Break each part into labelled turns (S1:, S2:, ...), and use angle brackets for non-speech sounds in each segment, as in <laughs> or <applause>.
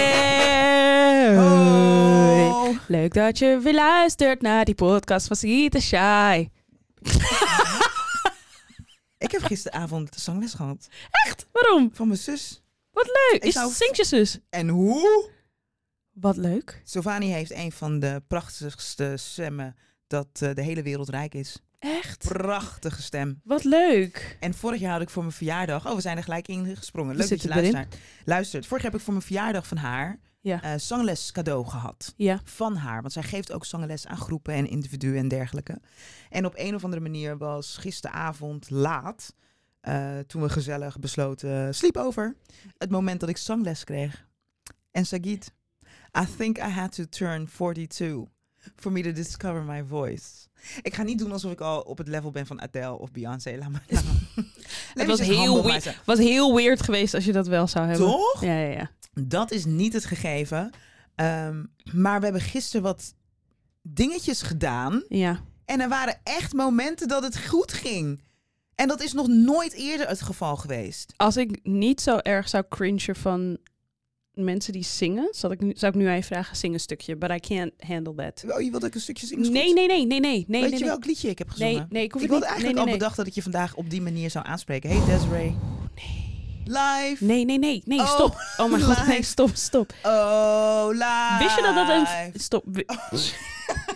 S1: Hey!
S2: Oh.
S1: Leuk dat je weer luistert naar die podcast van Sita Shy.
S2: Ik heb gisteravond de zangles gehad
S1: Echt? Waarom?
S2: van mijn zus.
S1: Wat leuk.
S2: Ik
S1: Is,
S2: zou-
S1: Zingt je zus?
S2: En hoe?
S1: Wat leuk.
S2: Giovanni heeft een van de prachtigste stemmen dat eh, de hele wereld rijk is.
S1: Echt?
S2: Prachtige stem.
S1: Wat leuk.
S2: En vorig jaar had ik voor mijn verjaardag... Oh, we zijn er gelijk in gesprongen.
S1: We
S2: Leuk dat je
S1: zitten erin.
S2: luistert. Luistert. Vorig jaar heb ik voor mijn verjaardag van haar
S1: Ja.
S2: eh, zangles cadeau gehad.
S1: Ja.
S2: van haar. Want zij geeft ook zangles aan groepen en individuen en dergelijke. En op een of andere manier was gisteravond laat, eh, toen we gezellig besloten sleepover, het moment dat ik zangles kreeg. En Sagit, I think I had to turn 42 for me to discover my voice. Ik ga niet doen alsof ik al op het level ben van Adele of Beyoncé. Laat maar, <laughs> laat maar. Let me
S1: was
S2: just
S1: heel
S2: humble
S1: weird.
S2: myself.
S1: Was heel weird geweest als je dat wel zou hebben.
S2: Toch?
S1: Ja, ja, ja.
S2: Dat is niet het gegeven. Ehm, maar we hebben gisteren wat dingetjes gedaan.
S1: Ja.
S2: En er waren echt momenten dat het goed ging. En dat is nog nooit eerder het geval geweest.
S1: Als ik niet zo erg zou cringen van mensen die zingen, zou ik nu, zou ik nu aan je vragen, zing een stukje. But I can't handle that.
S2: Oh, je wilt dat ik een stukje zing? Is goed.
S1: Nee, nee, nee, nee, nee, nee.
S2: Weet
S1: nee,
S2: je
S1: nee.
S2: welk liedje ik heb gezongen?
S1: Nee, nee, ik hoef
S2: ik
S1: het
S2: had
S1: niet.
S2: eigenlijk
S1: nee, nee,
S2: al
S1: nee.
S2: bedacht dat ik je vandaag op die manier zou aanspreken. Hey Desiree. Live.
S1: Oh, Nee, nee, nee, nee,
S2: Oh,
S1: stop. Oh mijn god, nee,
S2: live.
S1: stop, stop.
S2: Oh, live.
S1: Wist je dat dat een... Stop. Wi-
S2: <laughs>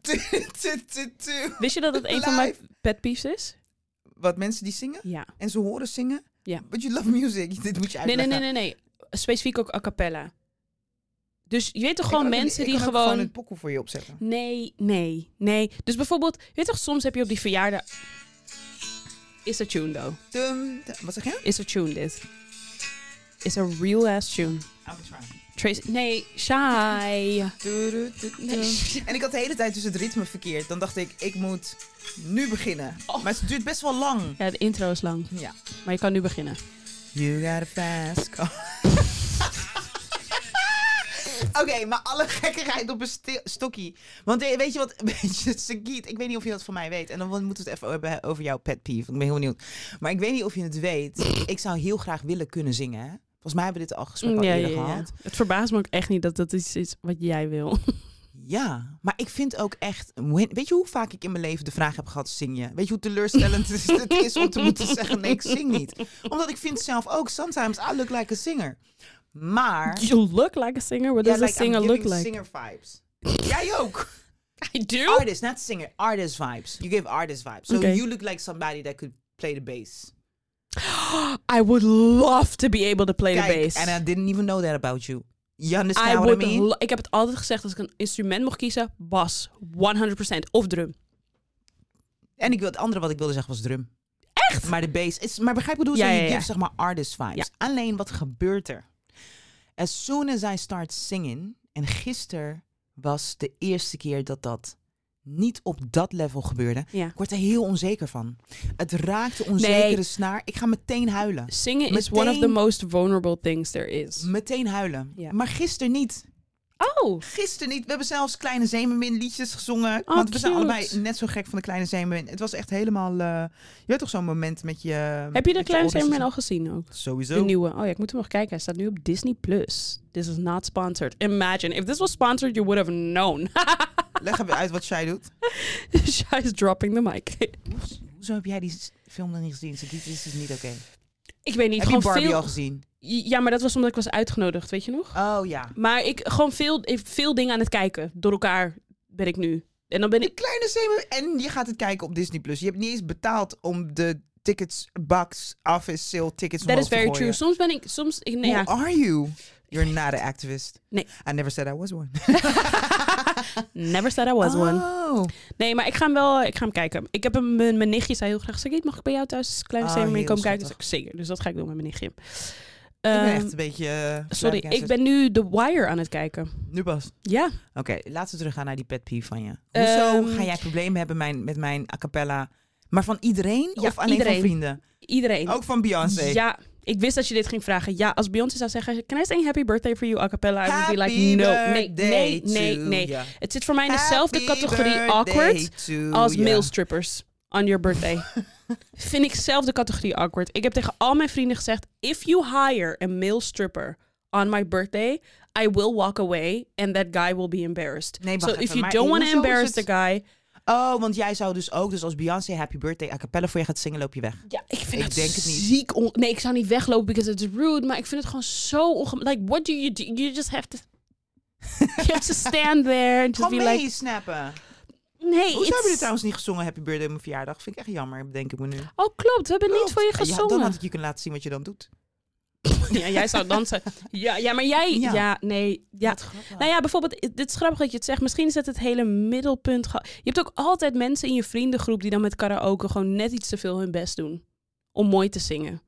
S2: Tu, tu, tu, tu.
S1: Wist je dat het een van mijn pet peeves is?
S2: Wat mensen die zingen
S1: Ja.
S2: en ze horen zingen.
S1: Ja.
S2: But you love music. <laughs> Dit moet je
S1: Nee,
S2: uitleggen.
S1: nee, nee, nee, nee. Specifiek ook a cappella. Dus je weet toch
S2: Ik
S1: gewoon
S2: kan ook-
S1: mensen
S2: ik
S1: die
S2: kan ook
S1: gewoon...
S2: gewoon een pokoe voor je opzetten.
S1: Nee, nee, nee. Dus bijvoorbeeld, je weet toch, soms heb je op die verjaardag... Is er tune, though?
S2: Dum, dum. Wat zeg je?
S1: Is er tune, dit? Is een real-ass tune.
S2: I'm trying.
S1: Trace... Nee, shy.
S2: Du- du- du- du- <laughs> En ik had de hele tijd dus het ritme verkeerd. Dan dacht ik, ik moet nu beginnen.
S1: Oh.
S2: Maar het duurt best wel lang.
S1: Ja, de intro is lang,
S2: Ja.
S1: maar je kan nu beginnen.
S2: You got a fast car. <laughs> Oké, maar alle gekkigheid op een sti- stokkie. Want eh, weet je wat, <laughs> weet je, Sagiet, ik weet niet of je dat van mij weet. En dan moeten we het even hebben over jouw pet peeve. want Ik ben heel benieuwd. Maar ik weet niet of je het weet. Ik zou heel graag willen kunnen zingen. hè. Volgens mij hebben we dit al gesprek al
S1: Mm, Ja, ja,
S2: eerder
S1: ja.
S2: gehad.
S1: Het verbaast me ook echt niet dat dat iets is wat jij wil.
S2: Ja, maar ik vind ook echt. Weet je hoe vaak ik in mijn leven de vraag heb gehad: zing je? Weet je hoe teleurstellend het is- het is
S1: <laughs>
S2: om te moeten zeggen: nee, ik zing niet? Omdat ik vind zelf ook: sometimes I look like a singer. Maar.
S1: <laughs> You look like a singer. What does
S2: Ja,
S1: a singer
S2: I'm
S1: look
S2: giving
S1: like?
S2: Singer
S1: <laughs>
S2: vibes. Jij ook.
S1: I do.
S2: Artist, not singer. Artist vibes. You give artist vibes. So
S1: Oké.
S2: you look like somebody that could play the bass.
S1: I would love to be able to play the
S2: Kijk,
S1: bass.
S2: and I didn't even know that about you. You understand
S1: I
S2: what I
S1: would
S2: mean?
S1: lo- ik heb het altijd gezegd als ik een instrument mocht kiezen, bas 100% of drum.
S2: En ik wil, het andere wat ik wilde zeggen was drum. Echt? Maar de bass is. Maar begrijp je wat ik
S1: Ja,
S2: bedoel? Zo,
S1: ja,
S2: je
S1: ja.
S2: geeft, zeg maar artist vibes.
S1: Ja.
S2: Alleen wat gebeurt er? As soon as I start singing. En gisteren was de eerste keer dat dat niet op dat level gebeurde.
S1: Ja.
S2: Ik word er heel onzeker van. Het raakt de onzekere
S1: Nee.
S2: snaar. Ik ga meteen huilen.
S1: Zingen is one of the
S2: Meteen-
S1: most vulnerable things there is.
S2: Meteen huilen.
S1: Ja.
S2: Maar gisteren niet.
S1: Oh,
S2: Gisteren niet. We hebben zelfs Kleine Zemermin liedjes gezongen.
S1: Oh,
S2: want we zijn
S1: cute.
S2: allebei net zo gek van de Kleine Zemermin. Het was echt helemaal... eh, je weet toch zo'n moment met je...
S1: heb je de
S2: met
S1: kleine
S2: oren-
S1: Zeemermin al gezien ook?
S2: Sowieso.
S1: De nieuwe. Oh ja, ik moet hem nog kijken. Hij staat nu op Disney Plus. This is not sponsored. Imagine if this was sponsored, you would have known. <laughs>
S2: Leg even uit wat jij doet.
S1: Shy is dropping the mic.
S2: Hoezo heb jij die s- film dan niet gezien? Ze- Dit is dus niet oké.
S1: ik weet niet.
S2: Heb je
S1: gewoon
S2: Barbie
S1: veel.
S2: al gezien?
S1: Ja, maar dat was omdat ik was uitgenodigd, weet je nog?
S2: Oh ja.
S1: Maar ik gewoon veel, ik- veel dingen aan het kijken. Door elkaar ben ik nu. En dan ben ik.
S2: Kleine Zemermin. En je gaat het kijken op Disney+. Plus. Je hebt niet eens betaald om de tickets, box, office, sale tickets
S1: That
S2: omhoog
S1: is
S2: te
S1: very
S2: gooien.
S1: true. Soms ben ik. Soms. Ik, nee, ja.
S2: Who are you? You're not an activist.
S1: Nee.
S2: I never said I was one.
S1: Never said I <laughs> was one.
S2: Oh.
S1: Nee, maar ik ga hem wel. Ik ga hem kijken. Ik heb hem. Mijn, mijn nichtje zei heel graag. Zeg, mag ik bij jou thuis kleine
S2: Oh,
S1: oh, mee
S2: heel
S1: komen kijken? Dus
S2: schattig.
S1: ik zeker. Dus dat ga ik doen met mijn nichtje.
S2: ik ben
S1: Ehm,
S2: echt een beetje... eh,
S1: sorry, ik
S2: flabbergasted.
S1: ben nu The Wire aan het kijken.
S2: Nu pas.
S1: Ja.
S2: Oké, laten we teruggaan naar die pet peeve van je. Hoezo
S1: Ehm,
S2: ga jij problemen hebben mijn, met mijn a cappella? Maar van iedereen?
S1: Ja,
S2: of alleen
S1: iedereen.
S2: van vrienden?
S1: Iedereen.
S2: Ook van Beyoncé?
S1: Ja. Ik wist dat je dit ging vragen. Ja, als Beyoncé zou zeggen, can I sing happy birthday for you a cappella? I would be like, no, nee, nee, nee, nee. Het zit voor mij in dezelfde categorie awkward als male strippers on your
S2: <laughs>
S1: birthday. Vind ik zelf de categorie awkward. Ik heb tegen al mijn vrienden gezegd: if you hire a male stripper on my birthday, I will walk away and that guy will be embarrassed.
S2: Nee,
S1: so
S2: wacht
S1: if
S2: even,
S1: you
S2: maar
S1: don't want to
S2: hoezo is
S1: embarrass the
S2: het-
S1: guy,
S2: Oh, want jij zou dus ook, dus als Beyoncé Happy Birthday a cappella voor je gaat zingen, loop je weg.
S1: ja, ik vind
S2: Ik
S1: het
S2: denk het niet.
S1: ziek. On nee, ik zou niet weglopen because it's rude, maar ik vind het gewoon zo ongemakkelijk. Like what do you do? You just have to <laughs> you have to stand there and just
S2: Gewoon
S1: be
S2: mee
S1: like
S2: snappen.
S1: nee.
S2: Hoezo hebben
S1: it's-
S2: jullie trouwens niet gezongen Happy Birthday op mijn verjaardag? Vind ik echt jammer, bedenk ik me nu.
S1: Oh, klopt. We hebben
S2: Klopt.
S1: niet voor je
S2: Ja,
S1: gezongen.
S2: dan had ik je kunnen laten zien wat je dan doet.
S1: <laughs> Ja, jij zou dansen. Ja, ja maar jij... Ja,
S2: Ja.
S1: nee. Ja.
S2: Wat grappig.
S1: Nou ja, bijvoorbeeld, dit is grappig dat je het zegt. Misschien is het het hele middelpunt. ge- Je hebt ook altijd mensen in je vriendengroep die dan met karaoke gewoon net iets te veel hun best doen. Om mooi te zingen.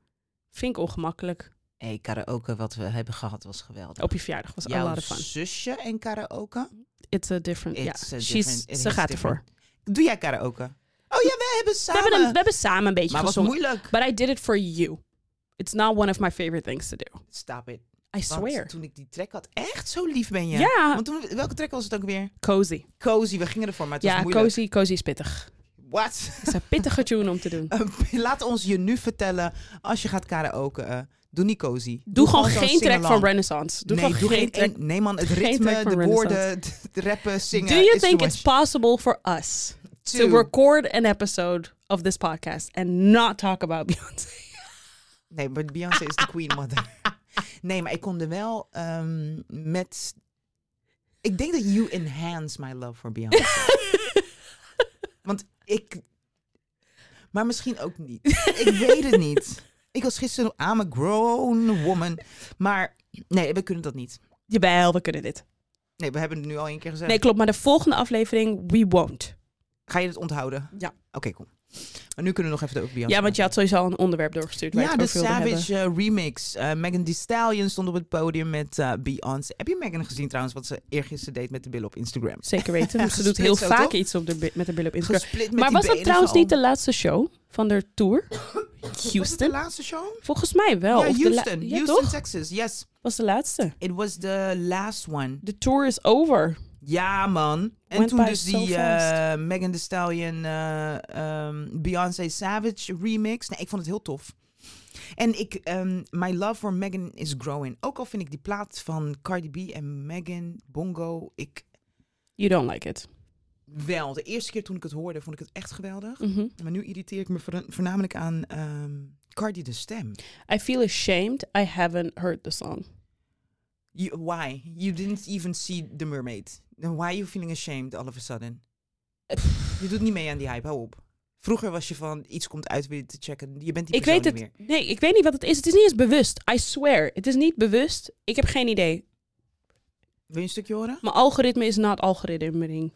S1: Vind ik ongemakkelijk.
S2: hey, karaoke wat we hebben gehad was geweldig.
S1: Op je verjaardag was Oh, a
S2: Jouw
S1: lot of fun.
S2: zusje en karaoke?
S1: It's a different... Ja,
S2: It's a
S1: she's-
S2: different- it
S1: ze
S2: is
S1: gaat
S2: different.
S1: ervoor.
S2: Doe jij karaoke? Oh ja, wij hebben
S1: We
S2: samen.
S1: hebben, een- we hebben samen een beetje
S2: maar was
S1: gezongen.
S2: moeilijk.
S1: But I did it for you. It's not one of my favorite things to do.
S2: Stop it.
S1: I
S2: Want
S1: swear.
S2: toen ik die track had, echt zo lief ben je.
S1: Ja,
S2: Want toen, welke track was het ook weer?
S1: cozy.
S2: Cozy, we gingen ervoor, maar het was
S1: Ja,
S2: moeilijk.
S1: cozy, cozy is pittig.
S2: What?
S1: Het is een pittige tune om te
S2: Eh,
S1: doen.
S2: <laughs> Laat ons je nu vertellen, als je gaat karaoke, eh, doe niet cozy.
S1: Doe, gewoon
S2: zo'n
S1: geen track
S2: sing-along.
S1: van Renaissance. Doe
S2: nee,
S1: gewoon
S2: doe
S1: geen track.
S2: één- Nee man, het
S1: geen track
S2: ritme,
S1: van
S2: <laughs> de
S1: Renaissance.
S2: woorden, het rappen, zingen.
S1: Do you
S2: is
S1: think
S2: too
S1: it's
S2: much.
S1: possible for us to
S2: Too.
S1: record an episode of this podcast and not talk about Beyoncé?
S2: Nee, maar Beyoncé is de queen mother. Nee, maar ik kon er wel ehm, met... Ik denk dat you enhance my love
S1: <laughs>
S2: for Beyoncé. Want ik... Maar misschien ook niet. Ik weet het niet. Ik was gisteren... I'm a grown woman. Maar nee, we kunnen dat niet.
S1: <laughs> Jawel, we kunnen dit.
S2: Nee, we hebben het nu al één keer gezegd.
S1: Nee, klopt. Maar de volgende aflevering, we won't.
S2: Ga je het onthouden?
S1: Ja.
S2: Oké, cool. Maar nu kunnen we nog even over Beyoncé.
S1: Ja, want je had sowieso al een onderwerp doorgestuurd waar je
S2: Ja,
S1: het
S2: de
S1: over wilde hebben.
S2: Savage eh, remix. Eh, Megan Thee Stallion stond op het podium met eh, Beyoncé. Heb je Megan gezien trouwens wat ze eergisteren deed met de billen op Instagram?
S1: Zeker weten. want ze doet heel
S2: Gesplitst ook,
S1: vaak
S2: toch?
S1: iets op de, bi- met de billen op Instagram.
S2: Gesplit met
S1: Maar
S2: die
S1: was dat
S2: benen
S1: trouwens
S2: van-
S1: niet de laatste show van de tour?
S2: Was het de
S1: Houston?
S2: laatste show?
S1: Volgens mij wel.
S2: ja,
S1: Of de la-
S2: Houston.
S1: Ja,
S2: Houston,
S1: toch?
S2: Texas. Yes.
S1: Was de laatste.
S2: It was the last one.
S1: De tour is over.
S2: Ja, man. En
S1: Went
S2: toen
S1: by
S2: dus
S1: so
S2: die
S1: fast.
S2: eh, Megan Thee Stallion eh, ehm, Beyoncé Savage remix. Nee, ik vond het heel tof. En ik, ehm, my love for Megan is growing. Ook al vind ik die plaat van Cardi B en Megan Bongo, ik
S1: You don't like it.
S2: wel. De eerste keer toen ik het hoorde, vond ik het echt geweldig.
S1: Mhm.
S2: Maar nu irriteer ik me voorn- voornamelijk aan ehm, Cardi de stem.
S1: I feel ashamed I haven't heard the song.
S2: You, why? You didn't even see The Mermaid. Then why are you feeling ashamed all of a sudden? Je doet niet mee aan die hype, hou op. Vroeger was je van, iets komt uit, wil je te checken. Je bent die
S1: Ik
S2: persoon
S1: weet het.
S2: niet meer.
S1: Nee, ik weet niet wat het is. Het is niet eens bewust. I swear. Het is niet bewust. Ik heb geen idee.
S2: Wil je een stukje
S1: <laughs>
S2: horen?
S1: Mijn algoritme is not algoritmering.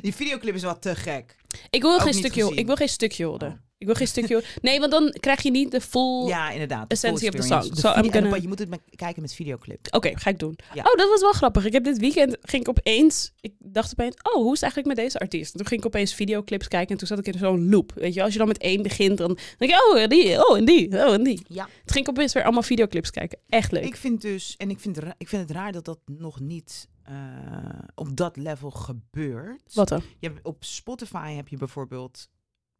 S2: Die videoclip is wat te gek.
S1: Ik wil
S2: Ook
S1: geen
S2: niet
S1: stukje.
S2: gezien.
S1: Ik wil geen stukje horen.
S2: Oh.
S1: Ik wil geen stukje. Nee, want dan krijg je niet de full.
S2: Ja, inderdaad. de
S1: Essentie
S2: full
S1: of the
S2: experience.
S1: song. So
S2: De
S1: I'm
S2: video- en dan
S1: gonna-
S2: pa- je moet het met- kijken met videoclip.
S1: Oké, ga ik doen.
S2: Ja.
S1: Oh, dat was wel grappig. Ik heb dit weekend ging ik opeens. Ik dacht opeens, oh, hoe is het eigenlijk met deze artiest? En toen ging ik opeens videoclips kijken en toen zat ik in zo'n loop. Weet je, als je dan met één begint, dan denk je, oh, en die, oh, en die, oh, en die.
S2: Ja.
S1: Toen ging ik opeens weer allemaal videoclips kijken. Echt leuk.
S2: Ik vind dus, en ik vind, ra- ik vind het raar dat dat nog niet eh, op dat level gebeurt.
S1: Wat dan?
S2: Je hebt, op Spotify heb je bijvoorbeeld,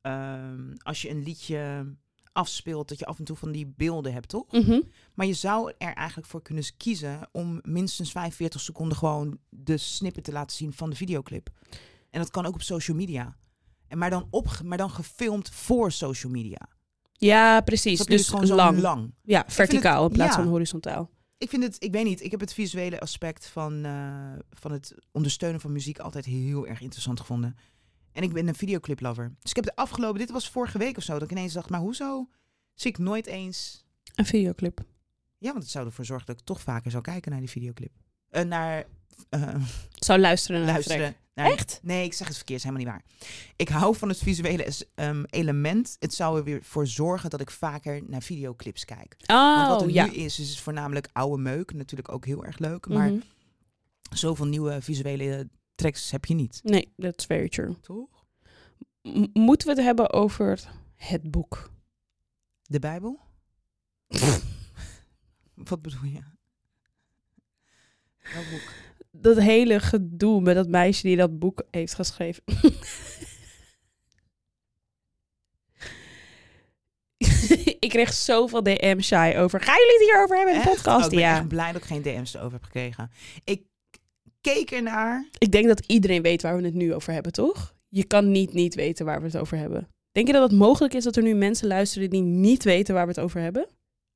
S2: ehm, als je een liedje afspeelt, dat je af en toe van die beelden hebt, toch?
S1: Mhm.
S2: Maar je zou er eigenlijk voor kunnen kiezen om minstens 45 seconden gewoon de snippet te laten zien van de videoclip. En dat kan ook op social media. En maar, dan op, maar dan gefilmd voor social media.
S1: Ja, precies.
S2: Snap je?
S1: Dus
S2: gewoon zo
S1: lang.
S2: lang.
S1: Ja, verticaal in
S2: het-
S1: plaats
S2: ja.
S1: van horizontaal.
S2: Ik vind het, ik weet niet, ik heb het visuele aspect van, eh, van het ondersteunen van muziek altijd heel erg interessant gevonden. En ik ben een videocliplover. Dus ik heb de afgelopen, dit was vorige week of zo, dat ik ineens dacht, maar hoezo zie ik nooit eens...
S1: Een videoclip.
S2: Ja, want het zou ervoor zorgen dat ik toch vaker zou kijken naar die videoclip. Eh, naar... eh,
S1: Zou luisteren naar luisteren.
S2: luisteren. Naar...
S1: Echt?
S2: Nee, ik zeg het verkeerd, is helemaal niet waar. Ik hou van het visuele es- ehm, element. Het zou er weer voor zorgen dat ik vaker naar videoclips kijk. Want wat
S1: Oh,
S2: er
S1: ja.
S2: nu is, is voornamelijk oude meuk. Natuurlijk ook heel erg leuk. Maar
S1: Mhm.
S2: zoveel nieuwe visuele tracks heb je niet.
S1: Nee, that's very true.
S2: Toch?
S1: M- moeten we het hebben over het boek?
S2: De Bijbel? <laughs> Wat bedoel je? Welk boek?
S1: dat hele gedoe met dat meisje die dat boek heeft geschreven. <laughs> ik Ik kreeg zoveel DM shy over. Gaan jullie het hierover hebben in de
S2: Echt?
S1: podcast?
S2: Oh, ik ben
S1: ja.
S2: echt blij dat ik geen DM's erover heb gekregen. Ik keek ernaar.
S1: Ik denk dat iedereen weet waar we het nu over hebben, toch? Je kan niet niet weten waar we het over hebben. Denk je dat het mogelijk is dat er nu mensen luisteren die niet weten waar we het over hebben?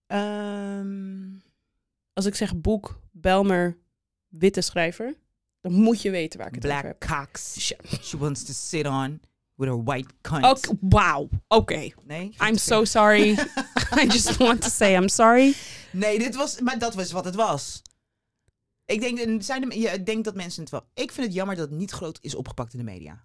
S2: Ehm,
S1: Als ik zeg boek, Belmer, witte schrijver, dan moet je weten waar ik het over
S2: black
S1: heb.
S2: cocks.
S1: Shit.
S2: She wants to sit on with her white cunt.
S1: Oké, wauw. Oké.
S2: Nee, geen
S1: I'm
S2: te
S1: so sorry. <laughs> I just want to say I'm sorry.
S2: Nee, dit was, maar dat was wat het was. Ik denk, en zijn de, ja, ik denk dat mensen het wel. Ik vind het jammer dat het niet groot is opgepakt in de media.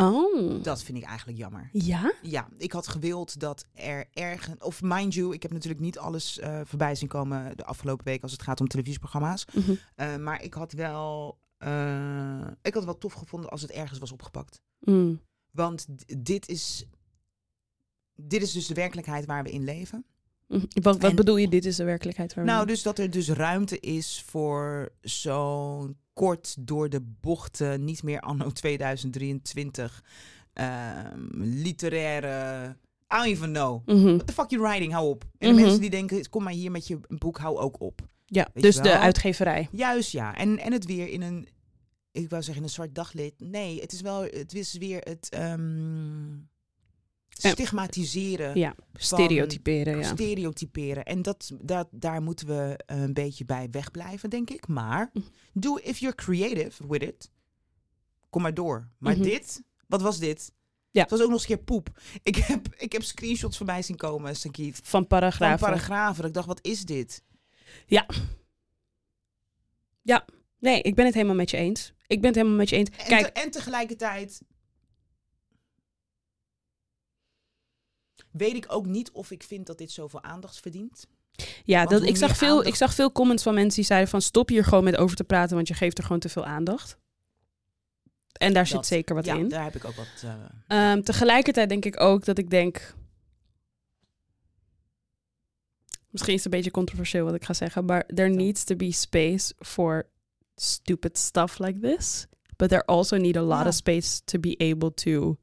S1: Oh.
S2: Dat vind ik eigenlijk jammer.
S1: Ja?
S2: Ja, ik had gewild dat er ergens. Of mind you, ik heb natuurlijk niet alles eh, voorbij zien komen de afgelopen week als het gaat om televisieprogramma's.
S1: Mhm.
S2: Eh, maar ik had wel. eh, ik had het wel tof gevonden als het ergens was opgepakt.
S1: Mm.
S2: Want d- dit is. Dit is dus de werkelijkheid waar we in leven.
S1: Mhm. Wat, wat
S2: En-
S1: bedoel je, dit is de werkelijkheid waar we-
S2: Nou, dus dat er dus ruimte is voor zo'n kort door de bochten, niet meer anno <laughs> 2023, ehm, literaire... I don't even know.
S1: Mhm.
S2: What the fuck you writing? Hou op. En de
S1: Mhm.
S2: mensen die denken, kom maar hier met je boek, hou ook op.
S1: Ja,
S2: je
S1: dus de
S2: wel?
S1: uitgeverij.
S2: Juist, ja. En, en het weer in een, ik wou zeggen in een zwart daglid. Nee, het is wel, het is weer het ehm,
S1: Eh,
S2: stigmatiseren
S1: ja, Stereotyperen, ja.
S2: stereotyperen. En dat, dat, daar moeten we een beetje bij wegblijven, denk ik. Maar
S1: Mhm.
S2: doe if you're creative with it. Kom maar door. Maar
S1: Mhm.
S2: dit, wat was dit?
S1: Ja.
S2: Het was ook nog eens een keer poep. Ik heb, ik heb screenshots voorbij zien komen, Sankiet.
S1: Van
S2: Van
S1: paragrafen.
S2: paragrafen. Ik dacht, wat is dit?
S1: nee, ik ben het helemaal met je eens. Ik ben het helemaal met je eens.
S2: En,
S1: Kijk,
S2: te- en tegelijkertijd weet ik ook niet of ik vind dat dit zoveel aandacht verdient.
S1: Ja,
S2: Want
S1: dat,
S2: hoe
S1: ik, zag
S2: meer
S1: veel,
S2: aandacht-
S1: ik zag veel comments van mensen die zeiden van stop hier gewoon met over te praten, want je geeft er gewoon te veel aandacht. En daar zit
S2: Dat-
S1: zeker wat
S2: ja,
S1: in.
S2: daar heb ik ook wat... eh,
S1: Ehm, tegelijkertijd denk ik ook dat ik denk. Misschien is het een beetje controversieel wat ik ga zeggen, maar there
S2: Zo.
S1: needs to be space for stupid stuff like this. But there also need a lot
S2: Ja.
S1: of space to be able to.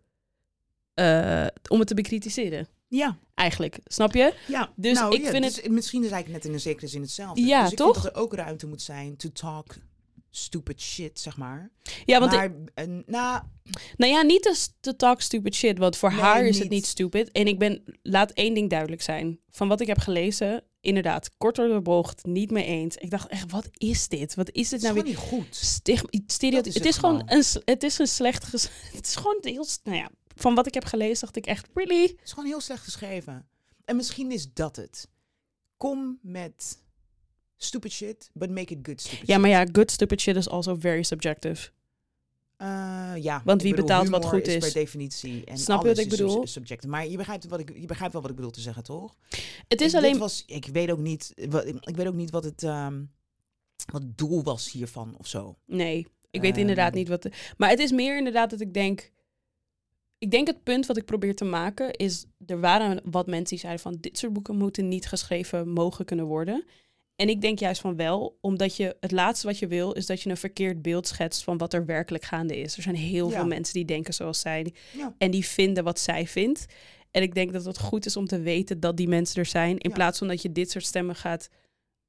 S1: eh, om het te bekritiseren,
S2: ja.
S1: eigenlijk. Snap je?
S2: Ja,
S1: Dus
S2: nou,
S1: ik
S2: ja,
S1: vind
S2: dus Misschien is eigenlijk net in een zekere zin hetzelfde.
S1: Ja,
S2: dus ik
S1: toch?
S2: Vind dat er ook ruimte moet zijn to talk stupid shit, zeg maar.
S1: Ja, want
S2: maar, en, nou,
S1: Nou ja, niet te, te talk stupid shit, want voor
S2: Nee,
S1: haar is
S2: niet.
S1: het niet stupid. En ik ben, laat één ding duidelijk zijn. Van wat ik heb gelezen, inderdaad, kort door de bocht, niet mee eens. Ik dacht echt, wat is dit? Wat is dit
S2: het is
S1: nou
S2: gewoon
S1: weer?
S2: niet goed.
S1: Stigma, stereotype.
S2: is
S1: het,
S2: het
S1: is gewoon
S2: gewoon.
S1: een, s- het is een slecht, ges- <laughs> het is gewoon heel, s- nou ja, van wat ik heb gelezen dacht ik echt, really?
S2: Het is gewoon heel slecht geschreven. En misschien is dat het. Kom met stupid shit, but make it good stupid
S1: Ja,
S2: shit.
S1: maar ja, good stupid shit is also very subjective.
S2: Eh, ja,
S1: Want
S2: ik
S1: wie
S2: bedoel,
S1: betaalt wat
S2: humor
S1: goed is.
S2: per definitie. En
S1: Snap je
S2: alles
S1: wat ik
S2: is sub-
S1: bedoel?
S2: subjective. Maar je begrijpt, wat ik, je begrijpt wel wat ik bedoel te zeggen, toch?
S1: Het is
S2: Ik- dit
S1: alleen,
S2: was, ik weet ook niet. Wat, ik weet ook niet wat het. ehm, wat het doel was hiervan of zo.
S1: Nee, ik weet
S2: Ehm.
S1: inderdaad niet wat. de- maar het is meer inderdaad dat ik denk. Ik denk het punt wat ik probeer te maken is. Er waren wat mensen die zeiden van. Dit soort boeken moeten niet geschreven mogen kunnen worden. En ik denk juist van wel, omdat je het laatste wat je wil is dat je een verkeerd beeld schetst van wat er werkelijk gaande is. Er zijn heel
S2: Ja.
S1: veel mensen die denken zoals zij
S2: Ja.
S1: en die vinden wat zij vindt. En ik denk dat het goed is om te weten dat die mensen er zijn, in
S2: Ja.
S1: plaats van dat je dit soort stemmen gaat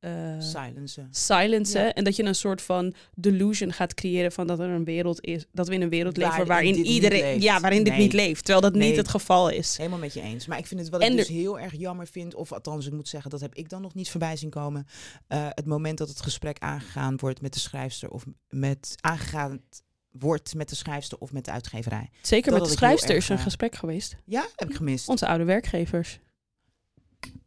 S1: eh,
S2: Silencen.
S1: silencen.
S2: Ja.
S1: En dat je een soort van delusion gaat creëren van dat er een wereld is. Dat we in een wereld
S2: Waarin
S1: leven
S2: dit
S1: waarin
S2: niet
S1: iedereen.
S2: leeft.
S1: Ja, waarin dit
S2: Nee.
S1: niet leeft. Terwijl dat
S2: Nee.
S1: niet het geval is.
S2: Helemaal met je eens. Maar ik vind het wat
S1: En
S2: ik
S1: er-
S2: dus heel erg jammer vind. Of althans, ik moet zeggen, dat heb ik dan nog niet voorbij zien komen. eh, het moment dat het gesprek aangegaan wordt met de schrijfster. Of met aangegaan wordt met de schrijfster of met de uitgeverij.
S1: Zeker met
S2: Dat had
S1: de
S2: ik heel
S1: schrijfster
S2: erg,
S1: is er een
S2: eh,
S1: gesprek geweest.
S2: Ja, heb ik gemist.
S1: Onze oude werkgevers.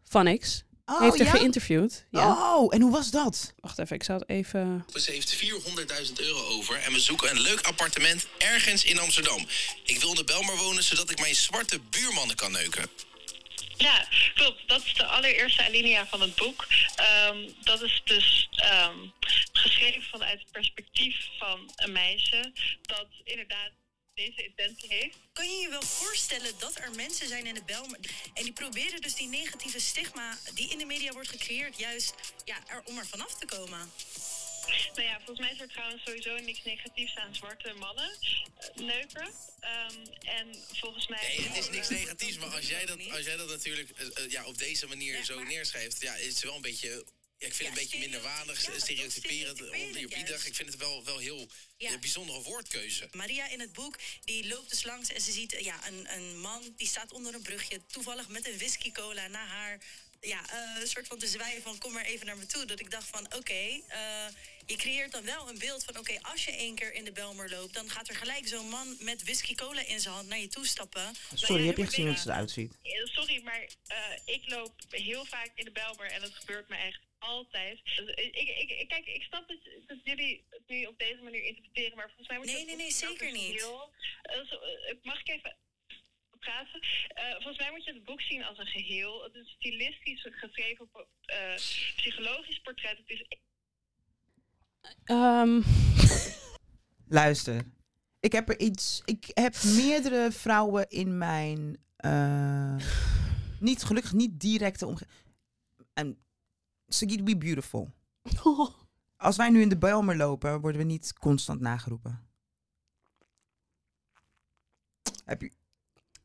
S1: Vanix
S2: Oh,
S1: heeft er
S2: ja?
S1: geïnterviewd. Ja.
S2: Oh, en hoe was dat?
S1: Wacht even, ik zal het even.
S3: Ze heeft 400.000 euro over en we zoeken een leuk appartement ergens in Amsterdam. Ik wil in de Belmar wonen zodat ik mijn zwarte buurmannen kan neuken.
S4: Ja, klopt. Dat is de allereerste alinea van het boek. Ehm, dat is dus ehm, geschreven vanuit het perspectief van een meisje dat inderdaad deze intentie heeft.
S5: Kan je je wel voorstellen dat er mensen zijn in de Belmer... en die proberen dus die negatieve stigma die in de media wordt gecreëerd... juist ja, er, om er vanaf te komen?
S4: Nou ja, volgens mij is er trouwens sowieso niks negatiefs aan zwarte mannen eh, neuken. Ehm, en volgens mij...
S3: Nee, het is niks negatiefs, maar als jij dat, als jij dat natuurlijk eh, eh, ja, op deze manier
S5: Ja,
S3: zo
S5: maar-
S3: neerschrijft, ja, is het wel een beetje. Ja, ik vind
S5: Ja,
S3: het een beetje minder waardig,
S5: stereotyp- ja,
S3: stereotyperend,
S5: stereotyperend
S3: oneerbiedig.
S5: juist.
S3: Ik vind het wel, wel heel
S5: Ja.
S3: eh, bijzondere woordkeuze.
S5: Maria in het boek, die loopt dus langs en ze ziet eh, ja, een, een man die staat onder een brugje, toevallig met een whisky cola na haar. Ja, eh, een soort van te zwijgen van kom maar even naar me toe. Dat ik dacht van oké, eh, je creëert dan wel een beeld van oké, als je één keer in de Belmer loopt, dan gaat er gelijk zo'n man met whisky cola in zijn hand naar je toe stappen.
S4: Maar
S2: Sorry,
S4: ja,
S2: heb je
S4: maar
S2: echt gezien hoe
S4: weet
S2: het eruit ziet?
S4: Eh, Sorry, maar eh, ik loop heel vaak in de Belmer en dat gebeurt me echt altijd. Dus Ik, ik, ik- kijk, ik snap dat, dat jullie het nu op deze manier interpreteren, maar volgens mij moet je
S5: Nee,
S4: dat
S5: nee, nee,
S4: boek wel
S5: zeker
S4: zien
S5: niet.
S4: heel- eh, zo, eh, mag ik even praten? Eh, volgens mij moet je het boek zien als een geheel. Het is stilistisch geschreven, eh, psychologisch portret. Het is
S1: Ehm, <laughs>
S2: Luister, ik heb er iets. Ik heb meerdere vrouwen in mijn. eh, niet gelukkig, niet directe omgeving. En Sagit, we
S1: <laughs>
S2: beautiful. Als wij nu in de Belmer lopen, worden we niet constant nageroepen. Heb je,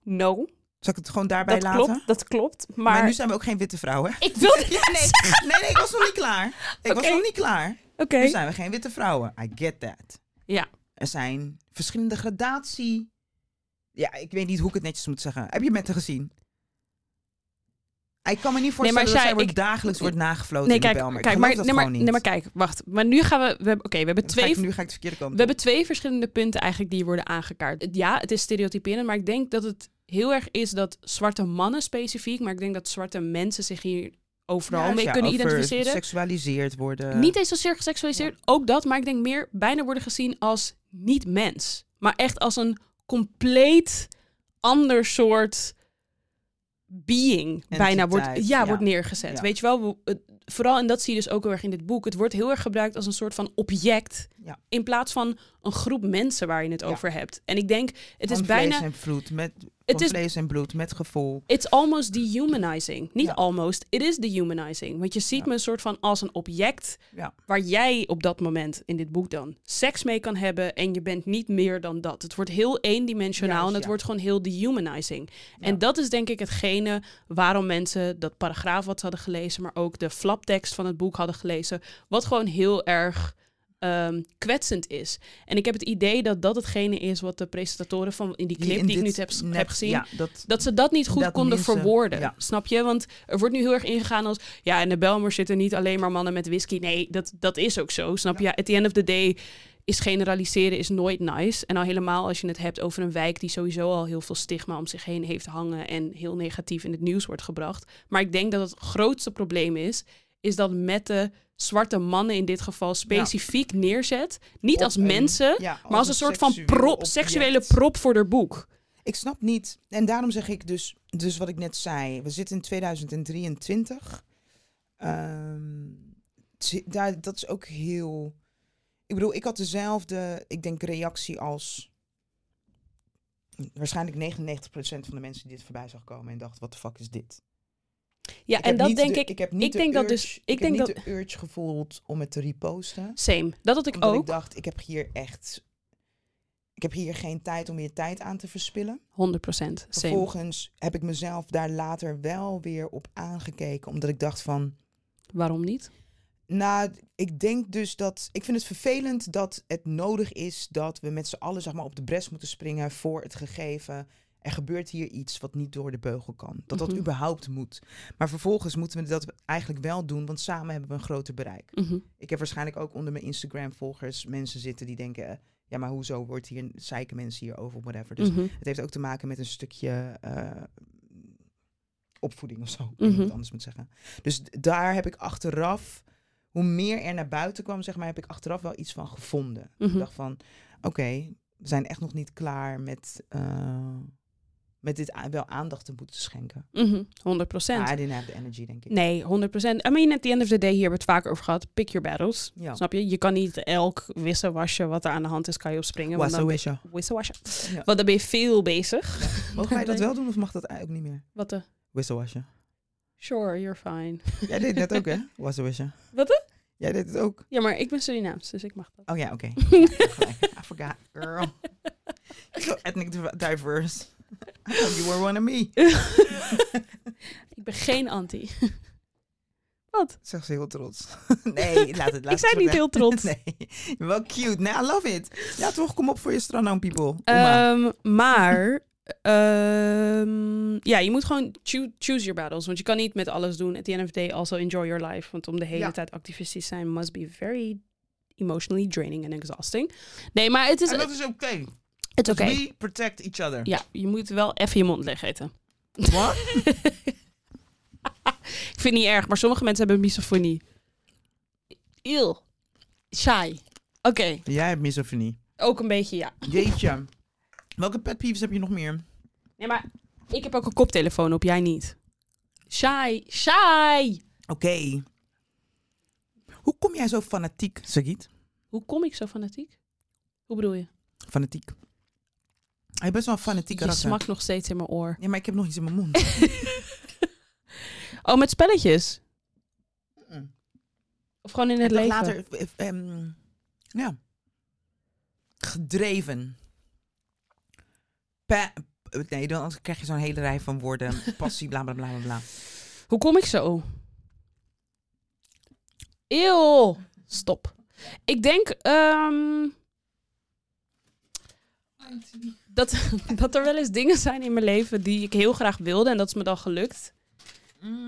S1: no,
S2: zal ik het gewoon daarbij
S1: dat
S2: laten?
S1: klopt, dat klopt. Maar,
S2: Maar, nu zijn we ook geen witte vrouwen.
S1: ik wil
S2: <laughs> Ja,
S1: <laughs>
S2: nee. nee, nee, ik was nog niet klaar. Ik was
S1: Oké.
S2: nog niet klaar.
S1: Oké.
S2: Nu zijn Oh, we geen witte vrouwen. I get that.
S1: Ja.
S2: Er zijn verschillende gradatie. Ja, ik weet niet hoe ik het netjes moet zeggen. Heb je met haar gezien? Ik kan me niet voorstellen
S1: maar
S2: dat
S1: Shai,
S2: zij wordt
S1: ik-
S2: daargelijks wordt nagefloten
S1: Nee,
S2: in
S1: kijk,
S2: de Belmer. Ik
S1: kijk
S2: geloof
S1: maar,
S2: dat
S1: nee, maar,
S2: gewoon niet.
S1: nee, maar kijk, wacht. Maar nu gaan we, we hebben, oké, we hebben
S2: Dan ga
S1: twee
S2: ik- nu ga ik de verkeerde kant
S1: We hebben twee verschillende punten eigenlijk die worden aangekaart. Het- Ja, het is stereotyperend, maar ik denk dat het heel erg is dat zwarte mannen specifiek, maar ik denk dat zwarte mensen zich hier overal mee kunnen identificeren.
S2: seksualiseerd worden.
S1: Niet eens zozeer geseksualiseerd, ook dat, maar ik denk meer bijna worden gezien als niet mens. Maar echt als een compleet ander soort being bijna wordt, ja,
S2: Entiteit, ja.
S1: wordt neergezet.
S2: Ja.
S1: Weet je wel, we- het- vooral, en dat zie je dus ook heel erg in dit boek, het wordt heel erg gebruikt als een soort van object
S2: Ja.
S1: in plaats van een groep mensen waar je het over hebt. En ik denk, het
S2: Van
S1: is bijna...
S2: vlees en bloed met
S1: Het
S2: het
S1: is-
S2: vlees en bloed met gevoel.
S1: It's almost dehumanizing. Niet
S2: Ja.
S1: almost, it is dehumanizing. Want je ziet me een soort van als een object
S2: Ja.
S1: waar jij op dat moment in dit boek dan seks mee kan hebben en je bent niet meer dan dat. Het wordt heel eendimensionaal
S2: Juist,
S1: en het
S2: ja.
S1: wordt gewoon heel dehumanizing. En dat is denk ik hetgene waarom mensen dat paragraaf wat ze hadden gelezen, maar ook de flaptekst van het boek hadden gelezen, wat gewoon heel erg ehm, kwetsend is. En ik heb het idee dat dat hetgene is wat de presentatoren van in die clip die,
S2: in
S1: ik nu
S2: dit
S1: heb,
S2: net-
S1: heb gezien,
S2: Ja, dat,
S1: dat ze dat niet goed
S2: Dat
S1: konden
S2: mensen-
S1: verwoorden.
S2: ja.
S1: Snap je? Want er wordt nu heel erg ingegaan als... Ja, in de Belmer zitten niet alleen maar mannen met whisky. Nee, dat, dat is ook zo. Snap je? At the end of the day is generaliseren is nooit nice. En al helemaal als je het hebt over een wijk... die sowieso al heel veel stigma om zich heen heeft hangen... en heel negatief in het nieuws wordt gebracht. Maar ik denk dat het grootste probleem is... is dat met de zwarte mannen in dit geval specifiek neerzet... niet
S2: Op
S1: als
S2: een-
S1: mensen,
S2: ja, als
S1: maar als
S2: een
S1: een soort van
S2: seksueel
S1: prop...
S2: object.
S1: seksuele prop voor haar boek.
S2: Ik snap niet. En daarom zeg ik dus, dus wat ik net zei. We zitten in 2023. Ehm, het zi- daar, dat is ook heel. Ik bedoel, ik had dezelfde, ik denk, reactie als. Waarschijnlijk 99% van de mensen die dit voorbij zag komen en dacht: wat de fuck is dit?
S1: Ja,
S2: Ik
S1: en
S2: heb
S1: dat
S2: niet
S1: denk
S2: de-
S1: ik...
S2: heb niet de
S1: denk dat
S2: urge-
S1: dus- ik
S2: Ik
S1: denk
S2: heb niet
S1: dat-
S2: de urge gevoeld om het te reposten.
S1: Same. Dat had ik
S2: Omdat ik
S1: ook.
S2: dacht: ik heb hier echt. Ik heb hier geen tijd om je tijd aan te verspillen.
S1: 100% same.
S2: Vervolgens heb ik mezelf daar later wel weer op aangekeken. Omdat ik dacht van.
S1: Waarom niet?
S2: Nou, ik denk dus dat. Ik vind het vervelend dat het nodig is dat we met z'n allen zeg maar, op de bres moeten springen voor het gegeven. Er gebeurt hier iets wat niet door de beugel kan. Dat dat
S1: Mhm.
S2: überhaupt moet. Maar vervolgens moeten we dat eigenlijk wel doen, want samen hebben we een groter bereik.
S1: Mhm.
S2: Ik heb waarschijnlijk ook onder mijn Instagram-volgers mensen zitten die denken: eh, ja, maar hoezo wordt hier, zeiken mensen hierover of whatever. Dus
S1: Mhm.
S2: het heeft ook te maken met een stukje eh, opvoeding of zo. Ik weet niet
S1: Mhm.
S2: hoe ik het anders moet zeggen. Dus d- daar heb ik achteraf, hoe meer er naar buiten kwam, zeg maar, heb ik achteraf wel iets van gevonden.
S1: Mhm.
S2: Ik dacht van, oké, we zijn echt nog niet klaar met, eh, met dit a- wel aandacht te moeten schenken.
S1: Mhm. 100%.
S2: Maar I didn't have the energy, denk ik.
S1: Nee, 100%. I mean, at the end of the day, hier hebben we het vaker over gehad. Pick your battles.
S2: Ja.
S1: Snap je? Je kan niet elk wisselwasje wat er aan de hand is, kan je opspringen.
S2: Was
S1: want dan
S2: zo is je.
S1: <laughs> ben- wisselwasje.
S2: Ja.
S1: Want dan ben je veel bezig.
S2: Mogen wij dat wel doen of mag dat eigenlijk ook niet meer?
S1: Wat de?
S2: Wisselwasje.
S1: Sure, you're fine. <laughs>
S2: Jij deed dat ook, hè? Wisselwasje.
S1: Wat de?
S2: Jij deed het ook.
S1: Ja, maar ik ben Surinaams, dus ik mag
S2: <laughs>
S1: dat.
S2: Oh ja, oké.
S1: <laughs>
S2: I forgot, girl. You're so ethnic div- diverse. I thought you were one of me.
S1: Ik ben geen anti.
S2: Zegt ze heel trots. <laughs> nee, laat het. Laat
S1: Ik zei
S2: het
S1: niet
S2: weg.
S1: heel trots.
S2: <laughs> nee, je bent wel cute. Nee, I love it. Ja, toch, kom op voor je strandhound people. Kom maar.
S1: Ehm, maar, ehm, ja, je moet gewoon choo- choose your battles. Want je kan niet met alles doen. At the end of the day, also enjoy your life. Want om de hele
S2: Ja.
S1: tijd activistisch te zijn, must be very emotionally draining and exhausting. Nee, maar het is,
S2: En dat
S1: het
S2: is oké. dus
S1: is dus, eh, oké.
S2: We protect each other.
S1: Ja, je moet wel even je mond leeg eten. <laughs>
S2: What?
S1: Ik vind het niet erg, maar sommige mensen hebben misofonie. Il. Saai. Oké,
S2: Jij hebt misofonie.
S1: ook een beetje ja.
S2: Jeetje. Welke pet peeves heb je nog meer?
S1: Nee, maar ik heb ook een koptelefoon op, jij niet. Saai, saai.
S2: Oké. Hoe kom jij zo fanatiek, Sagiet?
S1: Hoe kom ik zo fanatiek? Hoe bedoel je?
S2: Fanatiek. Hij is best wel een fanatiek
S1: Je
S2: karakter.
S1: smakt nog steeds in mijn oor.
S2: Ja, maar ik heb nog iets in mijn
S1: <laughs>
S2: mond.
S1: Oh, met spelletjes?
S2: Mm-mm.
S1: Of gewoon in het
S2: Dag
S1: leven?
S2: Mm. later, eh, ehm, ja. Gedreven. Pa- eh, nee, dan anders krijg je zo'n hele rij van
S1: <laughs>
S2: woorden. Passie, bla bla bla bla, bla.
S1: Hoe kom ik zo? Eeuw. Stop. Ik denk ehm, dat, <laughs> dat er wel eens dingen zijn in mijn leven die ik heel graag wilde. En dat is me dan gelukt.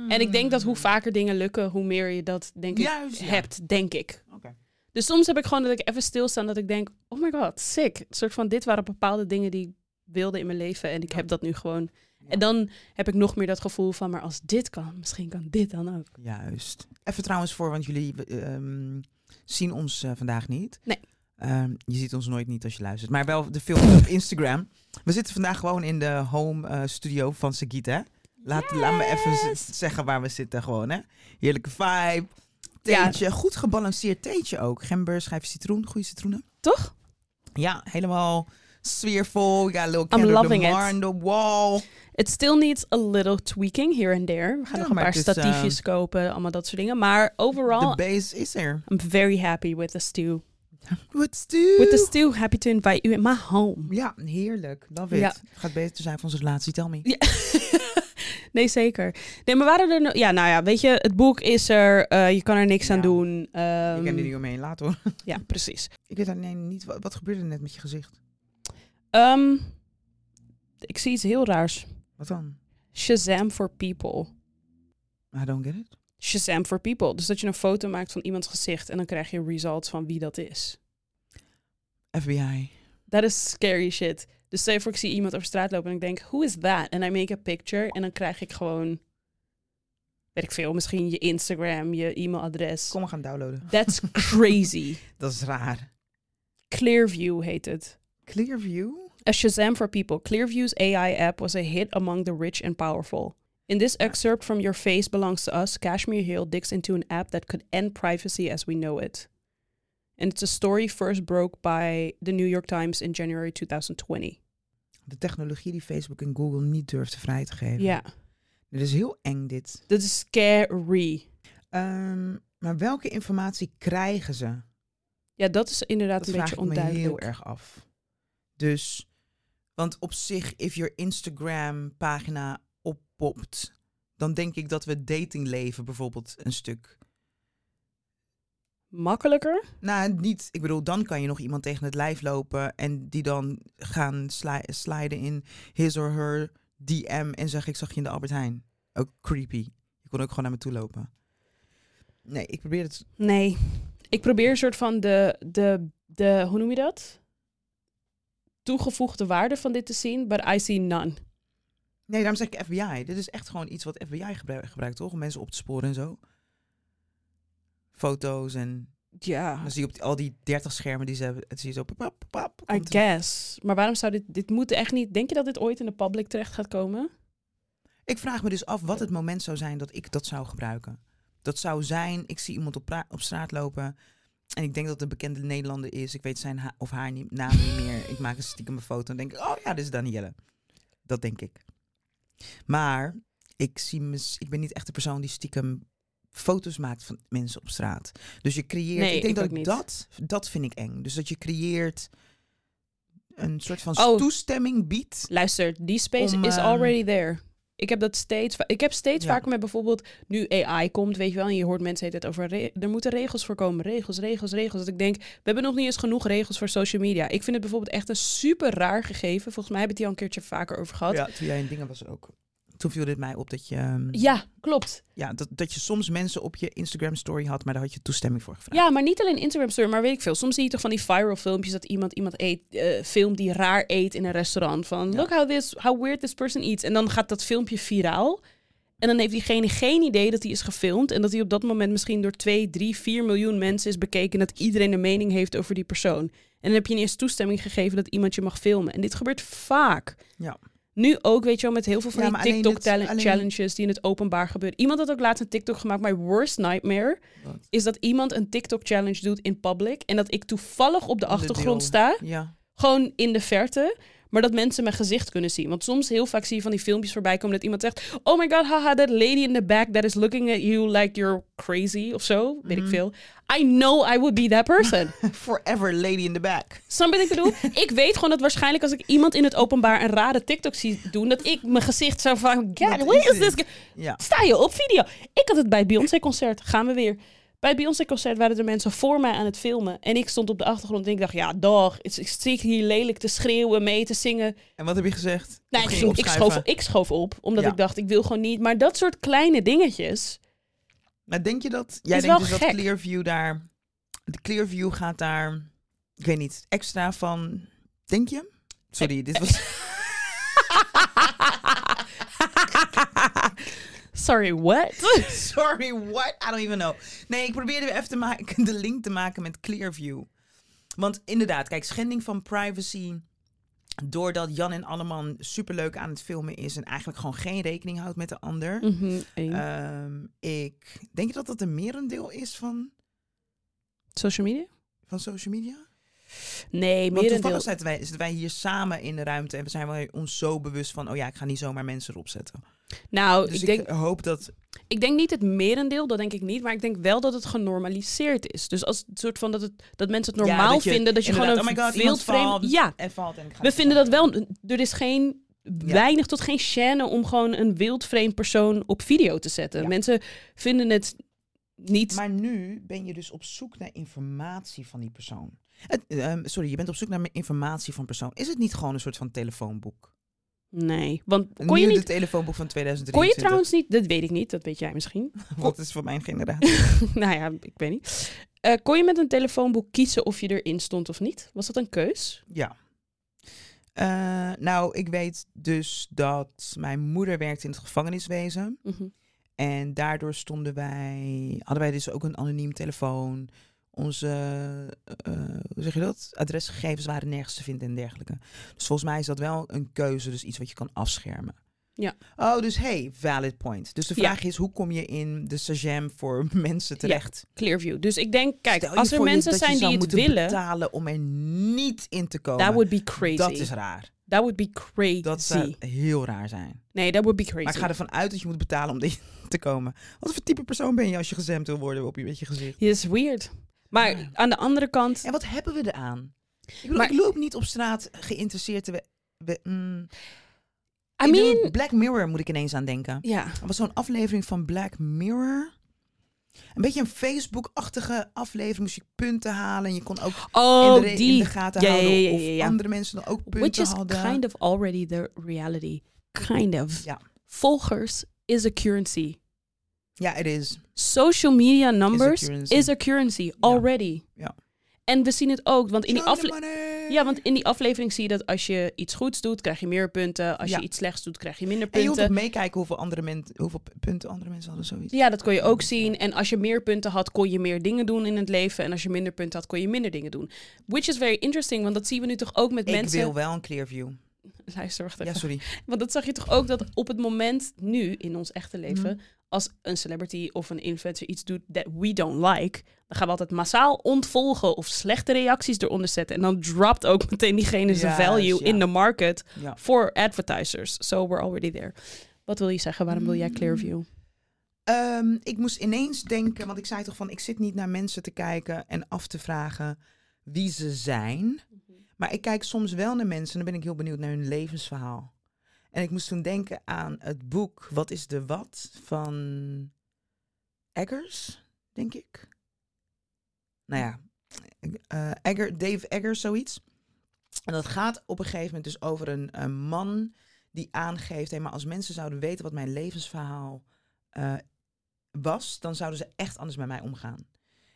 S1: En ik denk dat hoe vaker dingen lukken, hoe meer je dat denk ik,
S2: Mm. Juist, ja.
S1: hebt, denk ik.
S2: Oké.
S1: Dus soms heb ik gewoon dat ik even stilsta en dat ik denk, oh my god, sick. Een soort van, dit waren bepaalde dingen die ik wilde in mijn leven en ik heb dat nu gewoon. En dan heb ik nog meer dat gevoel van, maar als dit kan, misschien kan dit dan ook.
S2: Juist. Even trouwens voor, want jullie ehm, zien ons eh, vandaag niet.
S1: Nee.
S2: Ehm, je ziet ons nooit niet als je luistert. Maar wel de film op Instagram. We zitten vandaag gewoon in de home eh, studio van Sagita. Laat, laat me even z-
S1: Yes.
S2: zeggen waar we zitten gewoon, hè. Heerlijke vibe. Theetje. Goed gebalanceerd theetje ook. Gember, schijf citroen. Goede citroenen.
S1: Toch?
S2: Ja, helemaal sfeervol. Ja, little
S1: I'm
S2: candle of the
S1: loving it.
S2: mar on the wall.
S1: It still needs a little tweaking here and there. We gaan
S2: Ja,
S1: nog een
S2: maar
S1: paar
S2: het is, eh,
S1: statiefjes kopen, allemaal dat soort dingen. Maar
S2: De
S1: overall,
S2: base is er.
S1: I'm very happy with the stew.
S2: What's stew?
S1: With the stew, happy to invite you in my home.
S2: Ja, heerlijk. Love it.
S1: Ja.
S2: Het gaat beter zijn van onze relatie, tell me.
S1: Ja. nee, zeker. Nee, maar waren er... no- Ja, nou ja, weet je, het boek is er. eh, je kan er niks aan
S2: Ja.
S1: doen.
S2: ik
S1: ehm,
S2: heb er niet omheen, laat hoor. <laughs>
S1: Ja, precies.
S2: Ik weet alleen niet, wat, wat gebeurde er net met je gezicht?
S1: Ehm, ik zie iets heel raars.
S2: Wat dan?
S1: Shazam for people.
S2: I don't get it.
S1: Shazam for people. Dus dat je een foto maakt van iemands gezicht en dan krijg je results van wie dat is.
S2: FBI.
S1: Dat is scary shit. Dus stel je voor, ik zie iemand over straat lopen en ik denk, who is that? En I make a picture en dan krijg ik gewoon, weet ik veel, misschien je Instagram, je e-mailadres.
S2: Kom, we gaan downloaden.
S1: That's
S2: <laughs>
S1: crazy.
S2: Dat is raar.
S1: Clearview heet het.
S2: Clearview?
S1: A Shazam for People, Clearview's AI app was a hit among the rich and powerful. In this excerpt from Your Face Belongs to Us, Kashmir Hill digs into an app that could end privacy as we know it. And it's a story first broke by the New York Times in January 2020.
S2: De technologie die Facebook en Google niet durfde vrij te geven.
S1: Ja,
S2: Dit is heel eng, dit.
S1: dat is scary.
S2: Ehm, maar welke informatie krijgen ze?
S1: Ja, dat is inderdaad
S2: Dat
S1: een
S2: vraag
S1: beetje
S2: ik me heel
S1: onduidelijk.
S2: erg af. Dus, want op zich, if your Instagram pagina oppopt, dan denk ik dat we het datingleven bijvoorbeeld een stuk.
S1: Makkelijker?
S2: Nou, niet. Ik bedoel, dan kan je nog iemand tegen het lijf lopen en die dan gaan sli- sliden in his or her DM en zeggen: Ik zag je in de Albert Heijn. Ook creepy. Je kon ook gewoon naar me toe lopen. Nee, ik probeer het.
S1: Nee. Ik probeer een soort van de, de, de, hoe noem je dat? Toegevoegde waarde van dit te zien, but I see none.
S2: Nee, daarom zeg ik FBI. Dit is echt gewoon iets wat FBI gebruikt, gebruikt toch? Om mensen op te sporen en zo. Foto's en
S1: Ja,
S2: dan zie je op die- al die 30 schermen die ze hebben. Het zie je zo. Pap, pap, pap,
S1: I
S2: komt er-
S1: guess. Maar waarom zou dit... Dit moet echt niet... Denk je dat dit ooit in de public terecht gaat komen?
S2: Ik vraag me dus af wat het moment zou zijn dat ik dat zou gebruiken. Dat zou zijn, ik zie iemand op, pra- op straat lopen. En ik denk dat het een bekende Nederlander is. Ik weet zijn ha- of haar niet- naam niet meer. Ik maak een stiekem een foto en denk ik, oh ja, dit is Danielle. Dat denk ik. Maar ik, zie mis, ik ben niet echt de persoon die stiekem foto's maakt van mensen op straat. Dus je creëert.
S1: Nee,
S2: ik denk
S1: ik
S2: dat
S1: ook
S2: ik
S1: niet.
S2: dat. Dat vind ik eng. Dus dat je creëert een soort van
S1: Oh.
S2: toestemming biedt.
S1: Luister, die space
S2: Om,
S1: is
S2: ehm,
S1: already there. Ik heb dat steeds. va- Ik heb steeds
S2: Ja.
S1: vaker met bijvoorbeeld nu AI komt, weet je wel, en je hoort mensen het over. re- Er moeten regels voor komen. Regels, regels, regels. Dat ik denk, we hebben nog niet eens genoeg regels voor social media. Ik vind het bijvoorbeeld echt een super raar gegeven. Volgens mij heb ik het hier al een keertje vaker over gehad. Ja,
S2: Ja, toen jij in dingen was ook. Toen viel dit mij op dat je. ehm,
S1: klopt.
S2: Ja, dat, dat je soms mensen op je Instagram story had, maar daar had je toestemming voor gevraagd.
S1: Ja, maar niet alleen Instagram story, maar weet ik veel. Soms zie je toch van die viral filmpjes dat iemand iemand eet, eh, film die raar eet in een restaurant. Van look how this, how weird this person eats. En dan gaat dat filmpje viraal. En dan heeft diegene geen idee dat hij is gefilmd. En dat hij op dat moment misschien door 2, 3, 4 miljoen mensen is bekeken. En dat iedereen een mening heeft over die persoon. En dan heb je niet eens toestemming gegeven dat iemand je mag filmen. En dit gebeurt vaak.
S2: Ja.
S1: Nu ook, weet je wel, met heel veel van
S2: Ja,
S1: die
S2: maar alleen
S1: TikTok
S2: dit-
S1: talen-
S2: alleen-
S1: challenges die in het openbaar gebeuren. Iemand had ook laatst een TikTok gemaakt. My worst nightmare
S2: Wat?
S1: is dat iemand een TikTok challenge doet in public en dat ik toevallig op de achtergrond sta,
S2: Ja. <laughs>
S1: gewoon in de verte. Maar dat mensen mijn gezicht kunnen zien. Want soms heel vaak zie je van die filmpjes voorbij komen dat iemand zegt... Oh my god, haha, that lady in the back that is looking at you like you're crazy of zo. Weet
S2: Mhm.
S1: ik veel. I know I would be that person.
S2: Forever lady in the back.
S1: Snap je wat ik bedoel? <laughs> ik weet gewoon dat waarschijnlijk als ik iemand in het openbaar een rare TikTok zie doen... dat ik mijn gezicht zou van... God,
S2: Wat
S1: what
S2: is
S1: is this?
S2: dit?"
S1: guy?"
S2: Ja.
S1: Sta je op video? Ik had het bij het Beyoncé-concert. Gaan we weer. Bij het Beyoncé-concert waren er mensen voor mij aan het filmen. En ik stond op de achtergrond en ik dacht, ja, dag. Ik ik zit hier lelijk te schreeuwen, mee te zingen.
S2: En wat heb je gezegd?
S1: Nee, ik,
S2: Of ging je
S1: ging- ik,
S2: opschuiven?
S1: schoof, ik schoof op, omdat
S2: Ja.
S1: ik dacht, ik wil gewoon niet. Maar dat soort kleine dingetjes.
S2: Maar denk je dat... Jij
S1: Is
S2: denkt
S1: wel
S2: dus dat
S1: gek.
S2: Clearview daar... De Clearview gaat daar... Ik weet niet, extra van... Denk je? Sorry, dit was...
S1: Sorry, what?
S2: <laughs> Sorry, what? I don't even know. Nee, ik probeerde even te maken, de link te maken met Clearview. Want inderdaad, kijk, schending van privacy... Doordat Jan en Alleman superleuk aan het filmen is... en eigenlijk gewoon geen rekening houdt met de ander...
S1: Mhm, één.
S2: Ehm, ik denk je dat dat een merendeel is van,
S1: Social media?
S2: van social media.
S1: Nee,
S2: Want
S1: merendeel.
S2: toevallig zitten wij, zitten wij hier samen in de ruimte en we zijn wel ons zo bewust van, oh ja, ik ga niet zomaar mensen erop zetten.
S1: Nou,
S2: Dus
S1: ik
S2: ik,
S1: denk,
S2: hoop dat.
S1: Ik denk niet het merendeel, dat denk ik niet. Maar ik denk wel dat het genormaliseerd is. Dus als het soort van dat, het, dat mensen het normaal
S2: ja, dat je
S1: vinden dat je gewoon een
S2: inderdaad, oh my God, iemand
S1: wildvreemd-
S2: valt
S1: Ja,
S2: en valt en ik ga
S1: we
S2: niet
S1: vinden dat
S2: vallen.
S1: wel. Er is geen weinig tot geen chaîne om gewoon een wildvreemd persoon op video te zetten.
S2: Ja.
S1: Mensen vinden het niet.
S2: Maar nu ben je dus op zoek naar informatie van die persoon. Het, ehm, sorry, je bent op zoek naar informatie van persoon. Is het niet gewoon een soort van telefoonboek?
S1: nee, want
S2: Een
S1: kon je
S2: nieuwe
S1: niet.
S2: telefoonboek van
S1: Kon je
S2: 2023.
S1: trouwens niet, dat weet ik niet, dat weet jij misschien. <laughs>
S2: Wat is voor mijn generatie?
S1: nou ja, ik weet niet. Eh, kon je met een telefoonboek kiezen of je erin stond of niet? Was dat een keus?
S2: Ja. Eh, nou, ik weet dus dat mijn moeder werkte in het gevangeniswezen.
S1: Mhm.
S2: En daardoor stonden wij, hadden wij dus ook een anoniem telefoon. Onze, eh, hoe zeg je dat? Adresgegevens waren nergens te vinden en dergelijke. Dus volgens mij is dat wel een keuze, dus iets wat je kan afschermen.
S1: Ja.
S2: Oh, dus hey, valid point. Dus de
S1: Ja.
S2: vraag is, hoe kom je in de SAGEM voor <laughs> mensen terecht?
S1: Clearview. Dus ik denk, kijk,
S2: Stel je
S1: als er
S2: voor je-
S1: mensen
S2: dat je
S1: zijn
S2: zou
S1: die het
S2: moeten
S1: willen,
S2: betalen om er niet in te komen.
S1: that would be crazy.
S2: Dat is raar.
S1: That would be crazy.
S2: Dat zou heel raar zijn.
S1: Nee, that would be crazy.
S2: Maar ik ga ervan uit dat je moet betalen om erin <laughs> te komen. Wat voor type persoon ben je als je gezemd wil worden op je, met je gezicht?
S1: Dit is weird. Maar aan de andere kant,
S2: En wat hebben we eraan? Ik, bedoel,
S1: Maar-
S2: ik loop niet op straat geïnteresseerd te... we- we- mm.
S1: I
S2: Ik bedoel,
S1: mean,
S2: Black Mirror moet ik ineens aan denken.
S1: ja,
S2: Er was zo'n aflevering van Black Mirror. Een beetje een Facebook-achtige aflevering. Moest je punten halen. En je kon ook
S1: Oh,
S2: in, de re- in
S1: die.
S2: de gaten
S1: Ja, ja,
S2: houden
S1: ja, ja,
S2: of
S1: ja.
S2: andere mensen dan ook punten
S1: which is
S2: hadden.
S1: kind of already the reality. Kind of.
S2: Ja.
S1: Volgers is a currency.
S2: Ja, het is.
S1: Social media numbers is a currency,
S2: currency.
S1: already.
S2: Ja.
S1: En we zien het ook, want in die
S2: Show the
S1: aflevering...
S2: money!
S1: Ja, want in die aflevering zie je dat als je iets goeds doet, krijg je meer punten. Als
S2: Ja.
S1: je iets slechts doet, krijg je minder
S2: En je
S1: punten.
S2: hoeft ook meekijken hoeveel, andere men, hoeveel p- punten andere mensen hadden. Zoiets.
S1: Ja, dat kon je ook zien. En als je meer punten had, kon je meer dingen doen in het leven. En als je minder punten had, kon je minder dingen doen. Which is very interesting, want dat zien we nu toch ook met
S2: Ik
S1: mensen.
S2: wil wel een clear view.
S1: Luister, wacht
S2: Ja,
S1: even.
S2: sorry.
S1: Want dat zag je toch ook dat op het moment nu in ons echte leven,
S2: Mhm.
S1: als een celebrity of een influencer iets doet that we don't like, dan gaan we altijd massaal ontvolgen of slechte reacties eronder zetten. En dan dropt ook meteen diegene zijn
S2: Juist,
S1: value
S2: ja.
S1: in de market
S2: Ja. Mm.
S1: voor advertisers. So we're already there. Wat wil je zeggen? Waarom wil jij Clearview?
S2: Ehm, ik moest ineens denken, want ik zei toch van ik zit niet naar mensen te kijken en af te vragen wie ze zijn. Maar ik kijk soms wel naar mensen en dan ben ik heel benieuwd naar hun levensverhaal. En ik moest toen denken aan het boek Wat is de Wat van Eggers, denk ik. Nou ja, eh, Egger, Dave Eggers, zoiets. En dat gaat op een gegeven moment dus over een, eh, man die aangeeft, hé, maar als mensen zouden weten wat mijn levensverhaal eh, was, dan zouden ze echt anders met mij omgaan.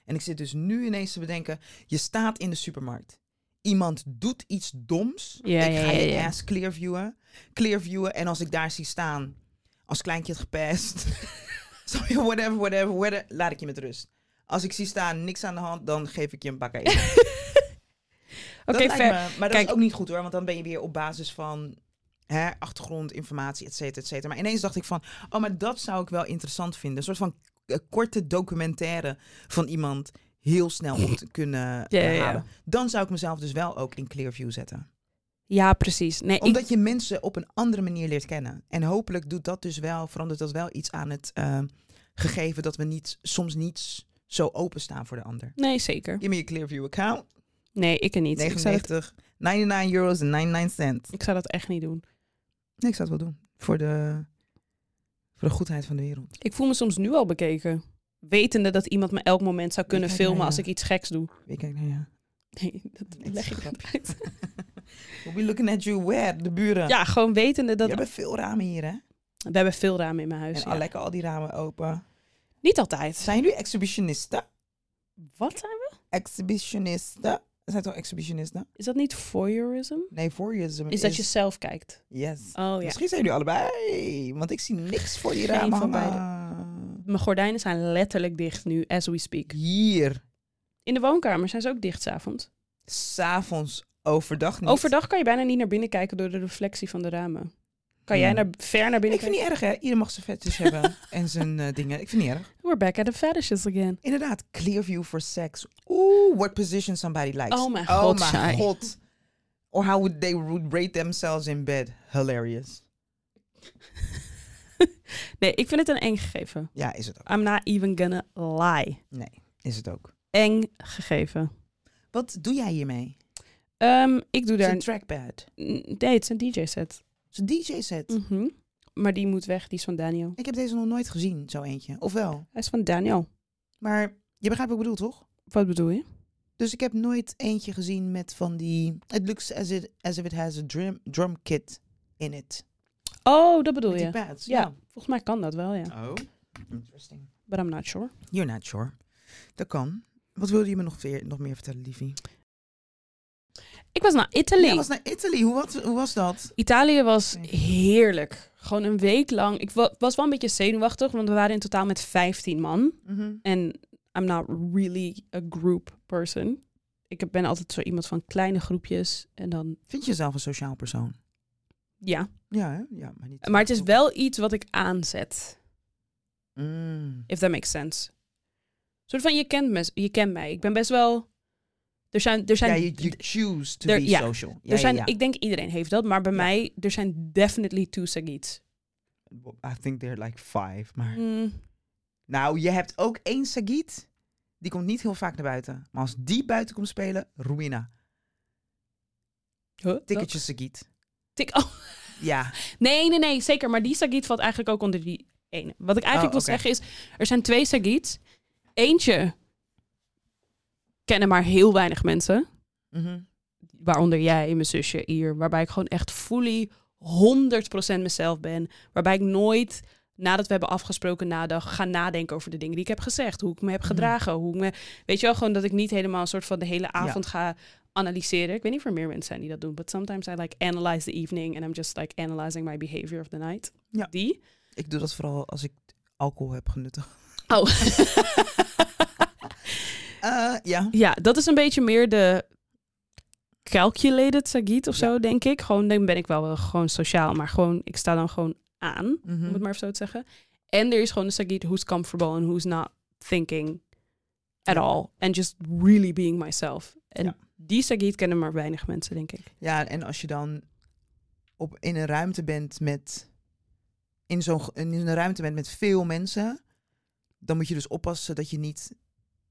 S2: En ik zit dus nu ineens te bedenken, je staat in de supermarkt. Iemand doet iets doms.
S1: Ja,
S2: ik
S1: ja,
S2: ga
S1: ja,
S2: je
S1: ja.
S2: ass clearviewen. Clearviewen. En als ik daar zie staan, als kleintje het gepest. <laughs> Sorry, whatever, whatever, whatever. Laat ik je met rust. Als ik zie staan, niks aan de hand, dan geef ik je een pakje.
S1: Oké,
S2: Dat lijkt
S1: fair.
S2: me- Maar dat
S1: Kijk-
S2: is ook niet goed hoor, want dan ben je weer op basis van hè, achtergrond, informatie, et cetera, et cetera. Maar ineens dacht ik van, oh, maar dat zou ik wel interessant vinden. Een soort van eh, korte documentaire van iemand heel snel op te kunnen
S1: <laughs> Ja, ja,
S2: eh,
S1: ja.
S2: halen. Dan zou ik mezelf dus wel ook in Clearview zetten.
S1: Ja, precies. Nee, ik,
S2: Omdat je mensen op een andere manier leert kennen. En hopelijk doet dat dus wel, verandert dat wel iets aan het eh, gegeven dat we niet, soms niet zo openstaan voor de ander.
S1: nee zeker.
S2: Give me a Clearview account.
S1: Nee, ik er niet. Ik zou, dat,
S2: 99, 99 euro's en 99 cent.
S1: ik zou dat echt niet doen.
S2: Nee, ik zou het wel doen. Voor de, voor de goedheid van de wereld.
S1: Ik voel me soms nu al bekeken. Wetende dat iemand me elk moment zou kunnen
S2: Kijk naar
S1: filmen
S2: je.
S1: als ik iets geks doe.
S2: Ik kijk naar jou.
S1: Nee, dat
S2: is
S1: leg ik
S2: een
S1: niet uit.
S2: We'll be looking at you where? De
S1: <laughs>
S2: buren.
S1: Ja, gewoon wetende
S2: We
S1: dat...
S2: hebben veel ramen hier, hè?
S1: We hebben veel ramen in mijn huis.
S2: En
S1: ja.
S2: al lekker al die ramen open.
S1: Niet altijd.
S2: Zijn jullie exhibitionisten?
S1: Wat zijn we?
S2: Exhibitionisten? Zijn toch exhibitionisten?
S1: Is dat niet voyeurism?
S2: Nee, voor je is...
S1: Is dat je zelf kijkt?
S2: Yes.
S1: Oh ja.
S2: Misschien zijn jullie allebei. Want ik zie niks voor die
S1: Geen
S2: ramen
S1: van
S2: hangen.
S1: Mijn gordijnen zijn letterlijk dicht nu, as we speak.
S2: Hier.
S1: In de woonkamer zijn ze ook dicht s'avonds.
S2: S'avonds. Overdag niet.
S1: Overdag kan je bijna niet naar binnen kijken door de reflectie van de ramen. Kan jij
S2: Hmm.
S1: naar, ver naar binnen
S2: Ik vind
S1: kijken?
S2: niet erg, hè? Ieder mag zijn fetish hebben.
S1: <laughs>
S2: En zijn eh, dingen. Ik vind niet erg.
S1: We're back at the fetishes again.
S2: Inderdaad, Clearview for sex. Oeh, what position somebody likes.
S1: Oh mijn god,
S2: Oh
S1: Shai.
S2: mijn god. Or how would they would rate themselves in bed. Hilarious.
S1: Nee, ik vind het een eng gegeven.
S2: Ja, is het ook.
S1: I'm not even gonna lie.
S2: Nee, is het ook.
S1: Eng gegeven.
S2: Wat doe jij hiermee?
S1: Ehm, ik doe
S2: Het is
S1: daar...
S2: een trackpad.
S1: Nee, het is een DJ-set.
S2: Het is een DJ-set.
S1: Mhm. Maar die moet weg, die is van Daniel.
S2: Ik heb deze nog nooit gezien, zo eentje. Of wel?
S1: Hij is van Daniel.
S2: Maar je begrijpt wat ik bedoel, toch?
S1: Wat bedoel je?
S2: Dus ik heb nooit eentje gezien met van die... It looks as, it, as if it has a drum, drum kit in it.
S1: Oh, dat bedoel
S2: Met
S1: je.
S2: die pads,
S1: Ja. Volgens mij kan dat wel, ja.
S2: Oh, interesting.
S1: But I'm not sure.
S2: You're not sure. Dat kan. Wat wilde je me nog, weer, nog meer vertellen, Livie?
S1: Ik was naar Italië.
S2: was naar Italië. Hoe, wat, hoe was dat?
S1: Italië was
S2: Nee.
S1: heerlijk. Gewoon een week lang. Ik wa- was wel een beetje zenuwachtig, want we waren in totaal met 15 man. En I'm not really a group person. Ik heb- ben altijd zo iemand van kleine groepjes. En dan,
S2: Vind je jezelf een sociaal persoon?
S1: ja.
S2: Ja, hè? ja maar niet.
S1: Maar het is wel iets wat ik aanzet.
S2: Mm.
S1: If that makes sense. Een soort van, je kent, me, je kent mij. Ik ben best wel... Er zijn, er zijn
S2: ja, you, you choose to
S1: er-
S2: be
S1: ja.
S2: social. Ja,
S1: Er zijn,
S2: ja, ja.
S1: Ik denk iedereen heeft dat, maar bij
S2: Ja.
S1: mij, er zijn definitely two Sagiets.
S2: I think they're like five. Maar...
S1: Mm,
S2: Nou, je hebt ook één Sagiet. Die komt niet heel vaak naar buiten. Maar als die buiten komt spelen, Ruina.
S1: huh, welk?
S2: Tikketje Sagiet.
S1: Tik oh, <laughs>
S2: Ja.
S1: nee, nee, nee, zeker. Maar die Sagiet valt eigenlijk ook onder die ene. Wat ik eigenlijk
S2: Oh, oké.
S1: wil zeggen is, er zijn twee Sagiets. Eentje kennen maar heel weinig mensen.
S2: Mhm.
S1: waaronder jij, mijn zusje, hier, waarbij ik gewoon echt fully 100% mezelf ben. Waarbij ik nooit, nadat we hebben afgesproken nadag, ga nadenken over de dingen die ik heb gezegd. Hoe ik me heb gedragen. Hoe ik me, weet je wel, gewoon dat ik niet helemaal een soort van de hele avond ga analyseren. Ik weet niet of er meer mensen zijn die dat doen. But sometimes I like analyze the evening and I'm just like analyzing my behavior of the night.
S2: Ja.
S1: Die.
S2: Ik doe dat vooral als ik alcohol heb genuttigd.
S1: Oh,
S2: <laughs> Eh, ja.
S1: ja, dat is een beetje meer de calculated Sagiet of zo, denk ik. Gewoon, dan ben ik wel, wel gewoon sociaal, maar gewoon, ik sta dan gewoon aan.
S2: Mhm.
S1: om het maar even zo te zeggen. En er is gewoon een Sagitt who's comfortable and who's not thinking at all. And just really being myself. En
S2: Ja.
S1: die Sagitt kennen maar weinig mensen, denk ik.
S2: Ja, en als je dan op, in een ruimte bent met. In zo'n ge- in een ruimte bent met veel mensen, dan moet je dus oppassen dat je niet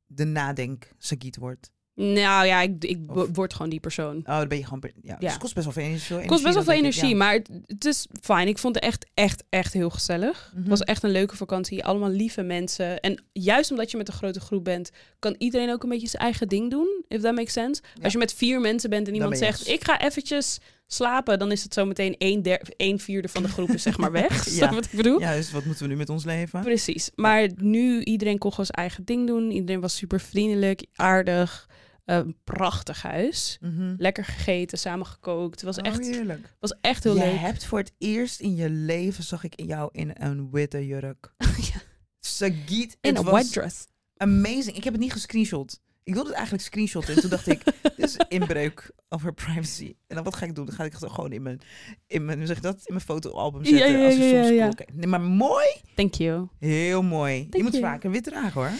S2: de nadenk-sagiet wordt.
S1: Nou ja, ik, ik
S2: Of-
S1: wo- word gewoon die persoon.
S2: Oh, dan ben je gewoon... per- Ja, Dus
S1: Ja.
S2: het kost best wel veel energie. veel
S1: Het kost best wel veel
S2: energie,
S1: energie,
S2: dan denk ik,
S1: maar het- het is fijn. Ik vond het echt, echt, echt heel gezellig.
S2: Mhm.
S1: Het was echt een leuke vakantie. Allemaal lieve mensen. En juist omdat je met een grote groep bent, kan iedereen ook een beetje zijn eigen ding doen. If that makes sense.
S2: Ja.
S1: Als je met vier mensen bent en iemand
S2: ben je
S1: zegt,
S2: echt-
S1: ik ga eventjes slapen, dan is het zo meteen een, der, een vierde van de groep is zeg maar
S2: <laughs>
S1: weg.
S2: Ja.
S1: Snap je wat ik bedoel?
S2: Ja, dus wat moeten we nu met ons leven?
S1: Precies. Maar nu, iedereen kon gewoon zijn eigen ding doen. Iedereen was super vriendelijk, aardig. Een prachtig huis.
S2: Mhm.
S1: Lekker gegeten, samen gekookt. Het was,
S2: Oh,
S1: echt,
S2: heerlijk.
S1: was echt heel
S2: je
S1: leuk.
S2: hebt voor het eerst in je leven, zag ik jou in een witte jurk.
S1: <laughs> Ja.
S2: Sagiet.
S1: In
S2: het
S1: een
S2: was
S1: white dress.
S2: Amazing. Ik heb het niet gescreenshot. Ik wilde het eigenlijk screenshotten. En toen
S1: <laughs>
S2: dacht ik, dit is inbreuk of haar privacy. En dan wat ga ik doen? Dan ga ik het gewoon in mijn, in mijn, hoe zeg je dat, in mijn fotoalbum
S1: Ja,
S2: zetten.
S1: ja,
S2: als je
S1: ja,
S2: soms
S1: ja, ja.
S2: cool kijkt. Nee, maar mooi.
S1: Thank you.
S2: Heel mooi. je
S1: Thank
S2: moet
S1: you.
S2: vaker wit dragen hoor.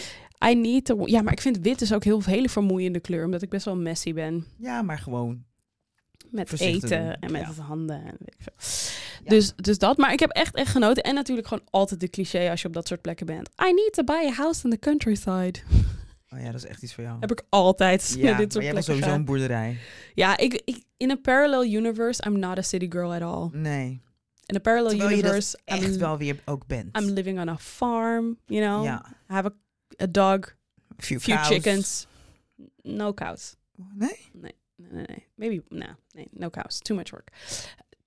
S1: I need to... Ja, maar ik vind wit is ook heel hele vermoeiende kleur. Omdat ik best wel messy ben.
S2: Ja, maar gewoon.
S1: Met
S2: Voorzichtig
S1: eten
S2: doen,
S1: en met
S2: ja.
S1: het handen. En weet ik veel.
S2: Ja.
S1: Dus, dus dat. Maar ik heb echt, echt genoten. En natuurlijk gewoon altijd de cliché als je op dat soort plekken bent. I need to buy a house in the countryside.
S2: Oh ja, dat is echt iets voor jou.
S1: Heb ik <laughs> altijd
S2: ja,
S1: naar dit
S2: maar
S1: soort
S2: jij
S1: plekken
S2: was sowieso
S1: gaan.
S2: een boerderij.
S1: Ja, ik, ik, in een parallel universe, I'm not a city girl at all.
S2: Nee,
S1: In a parallel
S2: Terwijl je dat
S1: universe, I'm,
S2: echt wel weer ook bent.
S1: I'm living on a farm, you know.
S2: Ja.
S1: I have a, a dog,
S2: Few,
S1: few
S2: cows.
S1: chickens, no cows.
S2: Nee?
S1: Nee, nee, nee. Maybe, nah, nee, no cows. Too much work.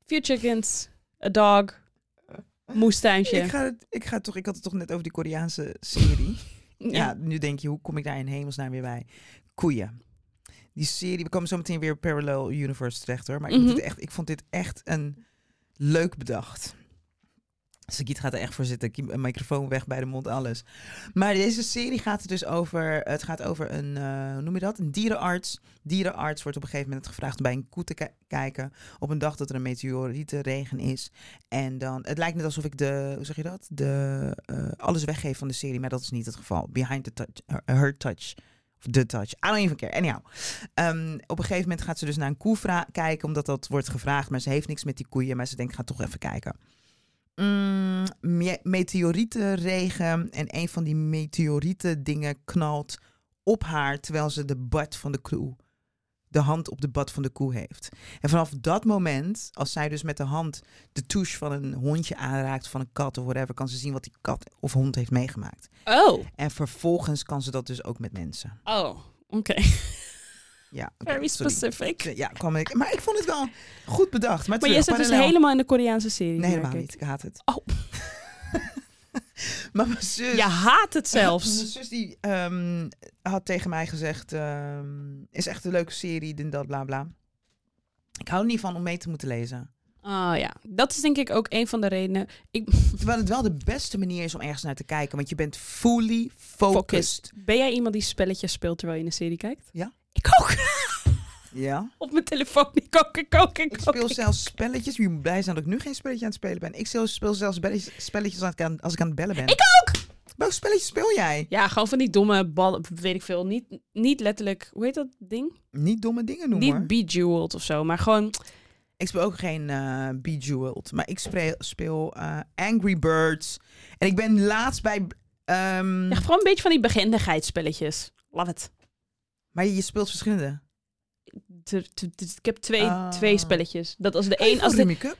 S1: Few chickens, a dog, moestuintje.
S2: Ik ga, het, ik ga het toch, ik had het toch net over die Koreaanse serie. Ja,
S1: ja.
S2: nu denk je, hoe kom ik daar in hemelsnaam weer bij? Koeien. Die serie, we komen zo meteen weer Parallel Universe terecht hoor. Maar ik,
S1: Mhm.
S2: vond dit echt, ik vond dit echt een leuk bedacht. Sagiet gaat er echt voor zitten. Kiem- Een microfoon weg bij de mond, alles. Maar deze serie gaat er dus over... Het gaat over een, eh, hoe noem je dat? Een dierenarts. Dierenarts wordt op een gegeven moment gevraagd om bij een koe te ki- kijken. Op een dag dat er een meteorietenregen is. En dan, het lijkt net alsof ik de, hoe zeg je dat? De, eh, alles weggeef van de serie, maar dat is niet het geval. Behind the touch, her, her touch. Of the touch. I don't even care. Anyhow. Ehm, op een gegeven moment gaat ze dus naar een koe vra- kijken, omdat dat wordt gevraagd. Maar ze heeft niks met die koeien, maar ze denkt, ik ga toch even kijken. Mm, me- meteorietenregen en een van die meteorieten dingen knalt op haar, terwijl ze de bad van de koe, de hand op de bad van de koe heeft. En vanaf dat moment, als zij dus met de hand de touche van een hondje aanraakt, van een kat of whatever, kan ze zien wat die kat of hond heeft meegemaakt.
S1: Oh,
S2: En vervolgens kan ze dat dus ook met mensen.
S1: oh, oké.
S2: Ja, oké,
S1: Very
S2: sorry.
S1: specific.
S2: Ja, kwam ik. Maar ik vond het wel goed bedacht. Maar,
S1: Maar
S2: terug,
S1: jij zit dus
S2: parallel-
S1: helemaal in de Koreaanse serie.
S2: Nee,
S1: merk
S2: helemaal
S1: ik.
S2: niet. Ik haat het.
S1: Oh.
S2: <laughs> maar mijn zus.
S1: Je haat het
S2: Mijn
S1: zelfs.
S2: zus die ehm, had tegen mij gezegd, ehm, is echt een leuke serie, dit en dat, bla bla. Ik hou er niet van om mee te moeten
S1: <laughs>
S2: lezen.
S1: Oh ja, dat is denk ik ook een van de redenen. Ik,
S2: Terwijl het wel de beste manier is om ergens naar te kijken. Want je bent fully focused.
S1: Focused. Ben jij iemand die spelletjes speelt terwijl je een serie kijkt?
S2: Ja.
S1: Ik ook. <laughs>
S2: Ja.
S1: Op mijn telefoon. Ik ook, ik ook, ik
S2: Ik
S1: ook.
S2: speel zelfs spelletjes. Je moet blij zijn dat ik nu geen spelletje aan het spelen ben. Ik speel, speel zelfs belletjes- spelletjes als ik, aan, als ik aan het bellen ben.
S1: Ik ook!
S2: Welk spelletje speel jij?
S1: Ja, gewoon van die domme ballen, weet ik veel. Niet, niet letterlijk, hoe heet dat ding?
S2: Niet domme dingen noemen hoor.
S1: Niet bejeweled of zo, maar gewoon...
S2: Ik speel ook geen eh Bejeweled. Maar ik speel, speel eh, Angry Birds. En ik ben laatst bij... ehm,
S1: Ja, gewoon een beetje van die begindigheidsspelletjes. Love it.
S2: Maar je speelt verschillende.
S1: T- t- t- Ik heb twee,
S2: Ah.
S1: twee spelletjes. Dat als de
S2: Eén
S1: een... Als de,
S2: Cup.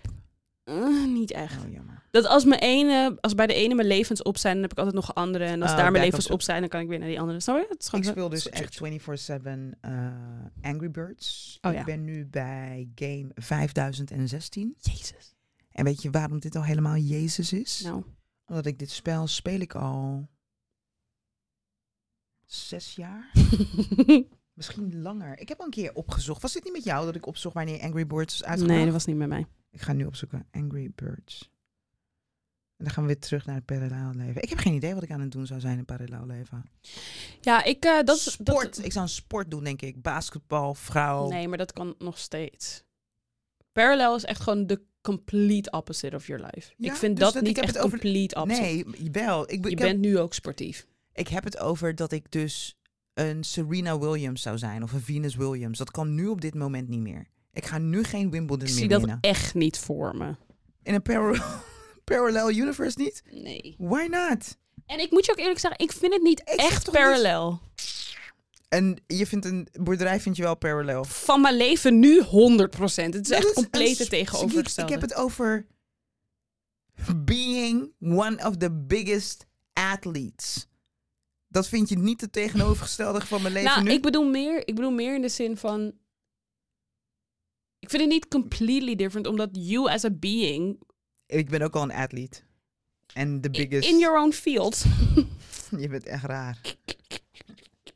S1: Eh, niet echt.
S2: Oh, jammer.
S1: Dat als, mijn ene, als bij de ene mijn levens op zijn, dan heb ik altijd nog een andere. En als
S2: Oh,
S1: daar mijn
S2: backup
S1: levens
S2: up.
S1: op zijn, dan kan ik weer naar die andere. Snap je? Het is gewoon
S2: Ik
S1: zo-
S2: speel dus
S1: zo-
S2: echt 24-7 eh, Angry Birds.
S1: Oh,
S2: Ik
S1: ja.
S2: ben nu bij game 5016.
S1: Jezus.
S2: En weet je waarom dit al helemaal Jezus is? <laughs>
S1: Nou,
S2: Omdat ik dit spel speel ik al zes jaar. Misschien langer. Ik heb al een keer opgezocht. Was dit niet met jou dat ik opzocht wanneer Angry Birds was uitgebracht?
S1: nee, dat was niet met mij.
S2: Ik ga nu opzoeken. Angry Birds. En dan gaan we weer terug naar het parallel leven. Ik heb geen idee wat ik aan het doen zou zijn in parallel leven.
S1: Ja, ik... eh, dat, is- dat-
S2: sport. ik zou een sport doen, denk ik. Basketbal, vrouw.
S1: Nee, maar dat kan nog steeds. Parallel is echt gewoon de complete opposite of your life.
S2: Ja,
S1: ik vind
S2: dus
S1: dat,
S2: dat- ik
S1: niet
S2: heb
S1: echt
S2: het over de-
S1: complete opposite.
S2: nee wel. Ik, be-
S1: Je
S2: ik,
S1: bent
S2: heb,
S1: nu ook sportief.
S2: ik heb het over dat ik dus een Serena Williams zou zijn. Of een Venus Williams. Dat kan nu op dit moment niet meer. Ik ga nu geen Wimbledon
S1: Ik
S2: meer
S1: zie dat
S2: winnen.
S1: echt niet voor me.
S2: <laughs> In een parallel, parallel universe niet?
S1: Nee.
S2: Why not?
S1: En ik moet je ook eerlijk zeggen, ik vind het niet
S2: zeg
S1: echt
S2: toch niet-
S1: parallel.
S2: En je vindt een boerderij vind je wel parallel.
S1: Van mijn leven nu 100%. Het is
S2: Dat
S1: echt
S2: een
S1: compleet
S2: s-
S1: het tegenovergestelde.
S2: Ik heb het over being one of the biggest athletes. Dat vind je niet het tegenovergestelde van mijn leven
S1: nou,
S2: nu?
S1: ik bedoel, meer, ik bedoel meer in de zin van... Ik vind het niet completely different, omdat you as a being...
S2: Ik ben ook al een atleet. En de biggest...
S1: In your own field.
S2: <laughs> Je bent echt raar.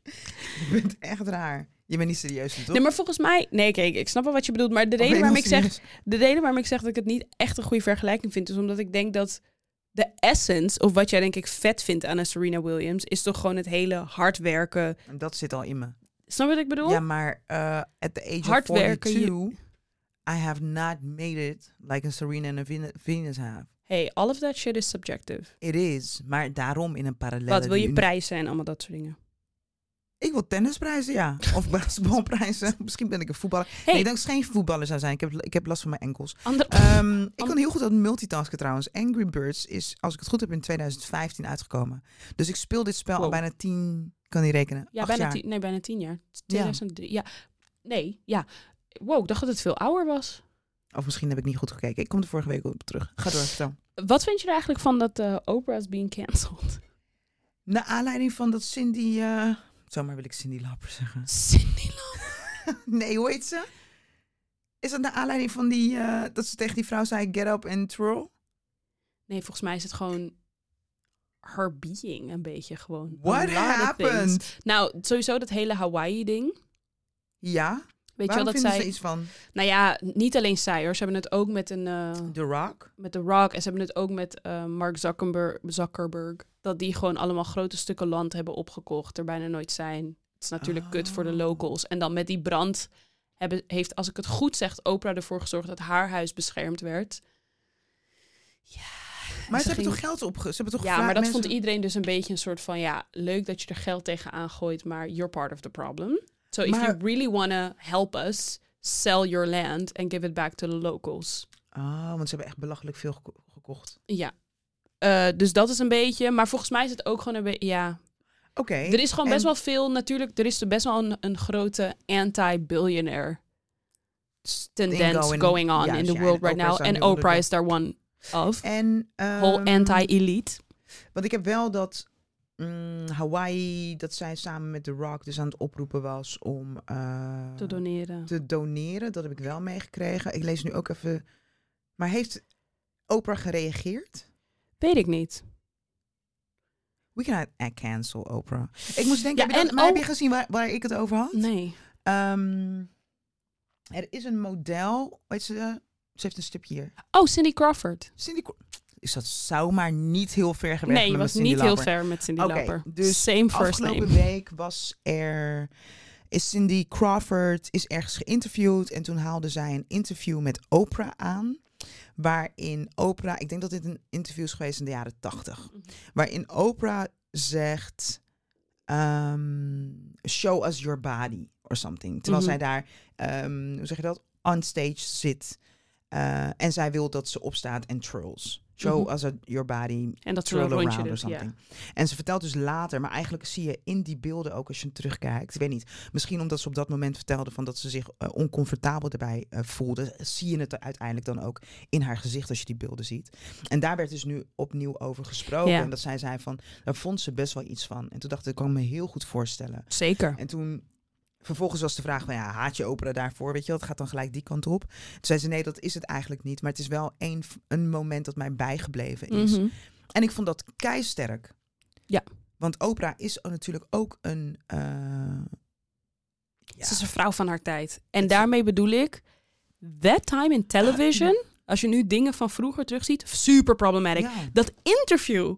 S2: je bent echt raar. Je bent niet serieus, toch?
S1: Nee, maar volgens mij... Nee, kijk, ik snap wel wat je bedoelt. Maar de reden,
S2: ben
S1: waarom ik,
S2: helemaal
S1: zeg, de reden waarom ik zeg dat ik het niet echt een goede vergelijking vind... is omdat ik denk dat de essence... of wat jij denk ik vet vindt aan een Serena Williams... is toch gewoon het hele hard werken.
S2: En Dat zit al in me.
S1: Snap je wat ik bedoel?
S2: Ja, maar eh, at the age
S1: Hard
S2: of
S1: werken,
S2: 42... I have not made it like a Serena and a Ven- Venus have.
S1: Hey, all of that shit is subjective.
S2: It is, maar daarom in een parallel.
S1: Wat wil je prijzen en allemaal dat soort dingen?
S2: Ik wil tennisprijzen, ja.
S1: <laughs>
S2: Of basketbalprijzen. Misschien ben ik een voetballer.
S1: Hey. Oh.
S2: Nee, ik denk dat ik geen voetballer zou zijn. Ik heb, ik heb last van mijn enkels.
S1: Ander...
S2: Ehm, ik kan heel goed aan multitasken trouwens. Angry Birds is, als ik het goed heb, in 2015 uitgekomen. Dus ik speel dit spel al
S1: Wow.
S2: bijna tien, kan niet rekenen.
S1: ja,
S2: acht
S1: bijna
S2: jaar.
S1: tien, nee, bijna tien jaar. 2003. Ja. Nee, ja. Wow, ik dacht dat het veel ouder was.
S2: Of misschien heb ik niet goed gekeken. Ik kom er vorige week op terug. Ga door, vertel.
S1: Wat vind je er eigenlijk van dat eh Oprah is being
S2: <laughs>
S1: cancelled?
S2: Naar aanleiding van dat Cindy... eh zomaar wil ik Cindy Lapper zeggen. <laughs>
S1: Cindy Lauper.
S2: Nee, hoe heet ze? Is dat naar aanleiding van die... eh, dat ze tegen die vrouw zei, get up and twirl?
S1: Nee, volgens mij is het gewoon her being een beetje gewoon. A
S2: What
S1: lot of things.
S2: happened?
S1: Nou, sowieso dat hele Hawaii-ding.
S2: Ja?
S1: Weet je wel
S2: Waarom
S1: dat zij...
S2: vinden ze iets van
S1: Nou ja, niet alleen zij hoor. Ze hebben het ook met een... eh,
S2: The Rock?
S1: met The Rock en ze hebben het ook met eh, Mark Zuckerberg, Zuckerberg. Dat die gewoon allemaal grote stukken land hebben opgekocht, er bijna nooit zijn. Het is natuurlijk kut voor de
S2: Ah.
S1: locals. En dan met die brand hebben, heeft, als ik het goed zeg, Oprah ervoor gezorgd dat haar huis beschermd werd.
S2: Maar ze,
S1: ging-
S2: hebben toch geld opge... Ze hebben toch
S1: Ja,
S2: gevraagd
S1: maar dat
S2: mensen-
S1: vond iedereen dus een beetje een soort van, ja, leuk dat je er geld tegenaan gooit, maar you're part of the problem. So if you
S2: Maar-
S1: really wanna help us, sell your land and give it back to the locals.
S2: Ah, want ze hebben echt belachelijk veel geko- gekocht.
S1: Ja. Eh, dus dat is een beetje, maar volgens mij is het ook gewoon een beetje, ja,
S2: Oké.
S1: Er is gewoon
S2: en-
S1: best wel veel, natuurlijk, er is best wel een, een grote anti-billionaire tendens
S2: going-
S1: going, on
S2: juist,
S1: in the
S2: ja,
S1: world
S2: en
S1: right
S2: Oprah
S1: now.
S2: is daar
S1: En
S2: nu onder
S1: Oprah
S2: de-
S1: is daar one of.
S2: En... ehm,
S1: Whole anti-elite.
S2: Want ik heb wel dat mm, Hawaii, dat zij samen met The Rock dus aan het oproepen was om eh,
S1: Te doneren.
S2: te doneren. Dat heb ik wel meegekregen. Ik lees nu ook even. Maar heeft Oprah gereageerd?
S1: Weet ik niet.
S2: We cannot eh, cancel Oprah. Ik moest denken,
S1: Ja,
S2: heb, je dat-
S1: en
S2: maar heb
S1: ook-
S2: je gezien waar, waar ik het over had?
S1: Nee.
S2: Ehm, er is een model. Weet ze, eh, ze heeft een stipje hier.
S1: Oh, Cindy Crawford.
S2: Cindy. Cro- Is dat zou maar niet heel ver geweest?
S1: nee, je was niet heel ver met Cindy
S2: Oké,
S1: Lauper.
S2: dus
S1: Same first
S2: Afgelopen
S1: name.
S2: week was er. Is Cindy Crawford is ergens geïnterviewd en toen haalde zij een interview met Oprah aan. Waarin Oprah, ik denk dat dit een interview is geweest in de jaren tachtig.
S1: Mhm.
S2: Waarin Oprah zegt, ehm, show us your body or something. Terwijl
S1: Mhm.
S2: zij daar, ehm, hoe zeg je dat, on stage zit. Eh, en zij wil dat ze opstaat en trolls. Show
S1: Mhm.
S2: us your body,
S1: En dat soort
S2: twirl
S1: rondje
S2: around or
S1: dus, ja.
S2: something. En ze vertelt dus later, maar eigenlijk zie je in die beelden ook als je hem terugkijkt. Ik weet niet, misschien omdat ze op dat moment vertelde van dat ze zich eh, oncomfortabel erbij eh, voelde, zie je het uiteindelijk dan ook in haar gezicht als je die beelden ziet. En daar werd dus nu opnieuw over gesproken.
S1: Ja.
S2: En dat zij zei van, daar vond ze best wel iets van. En toen dacht ik, ik kan me heel goed voorstellen.
S1: Zeker.
S2: En toen vervolgens was de vraag van ja, haat je Oprah daarvoor? Weet je, wel, dat gaat dan gelijk die kant op. Toen zei ze nee, dat is het eigenlijk niet. Maar het is wel een, een moment dat mij bijgebleven is.
S1: Mhm.
S2: En ik vond dat keisterk.
S1: Ja.
S2: Want Oprah is natuurlijk ook een. eh, ja.
S1: Ze is een vrouw van haar tijd. En daarmee bedoel ik, that time in television, als je nu dingen van vroeger terugziet, super problematic.
S2: Ah, Ja.
S1: Dat interview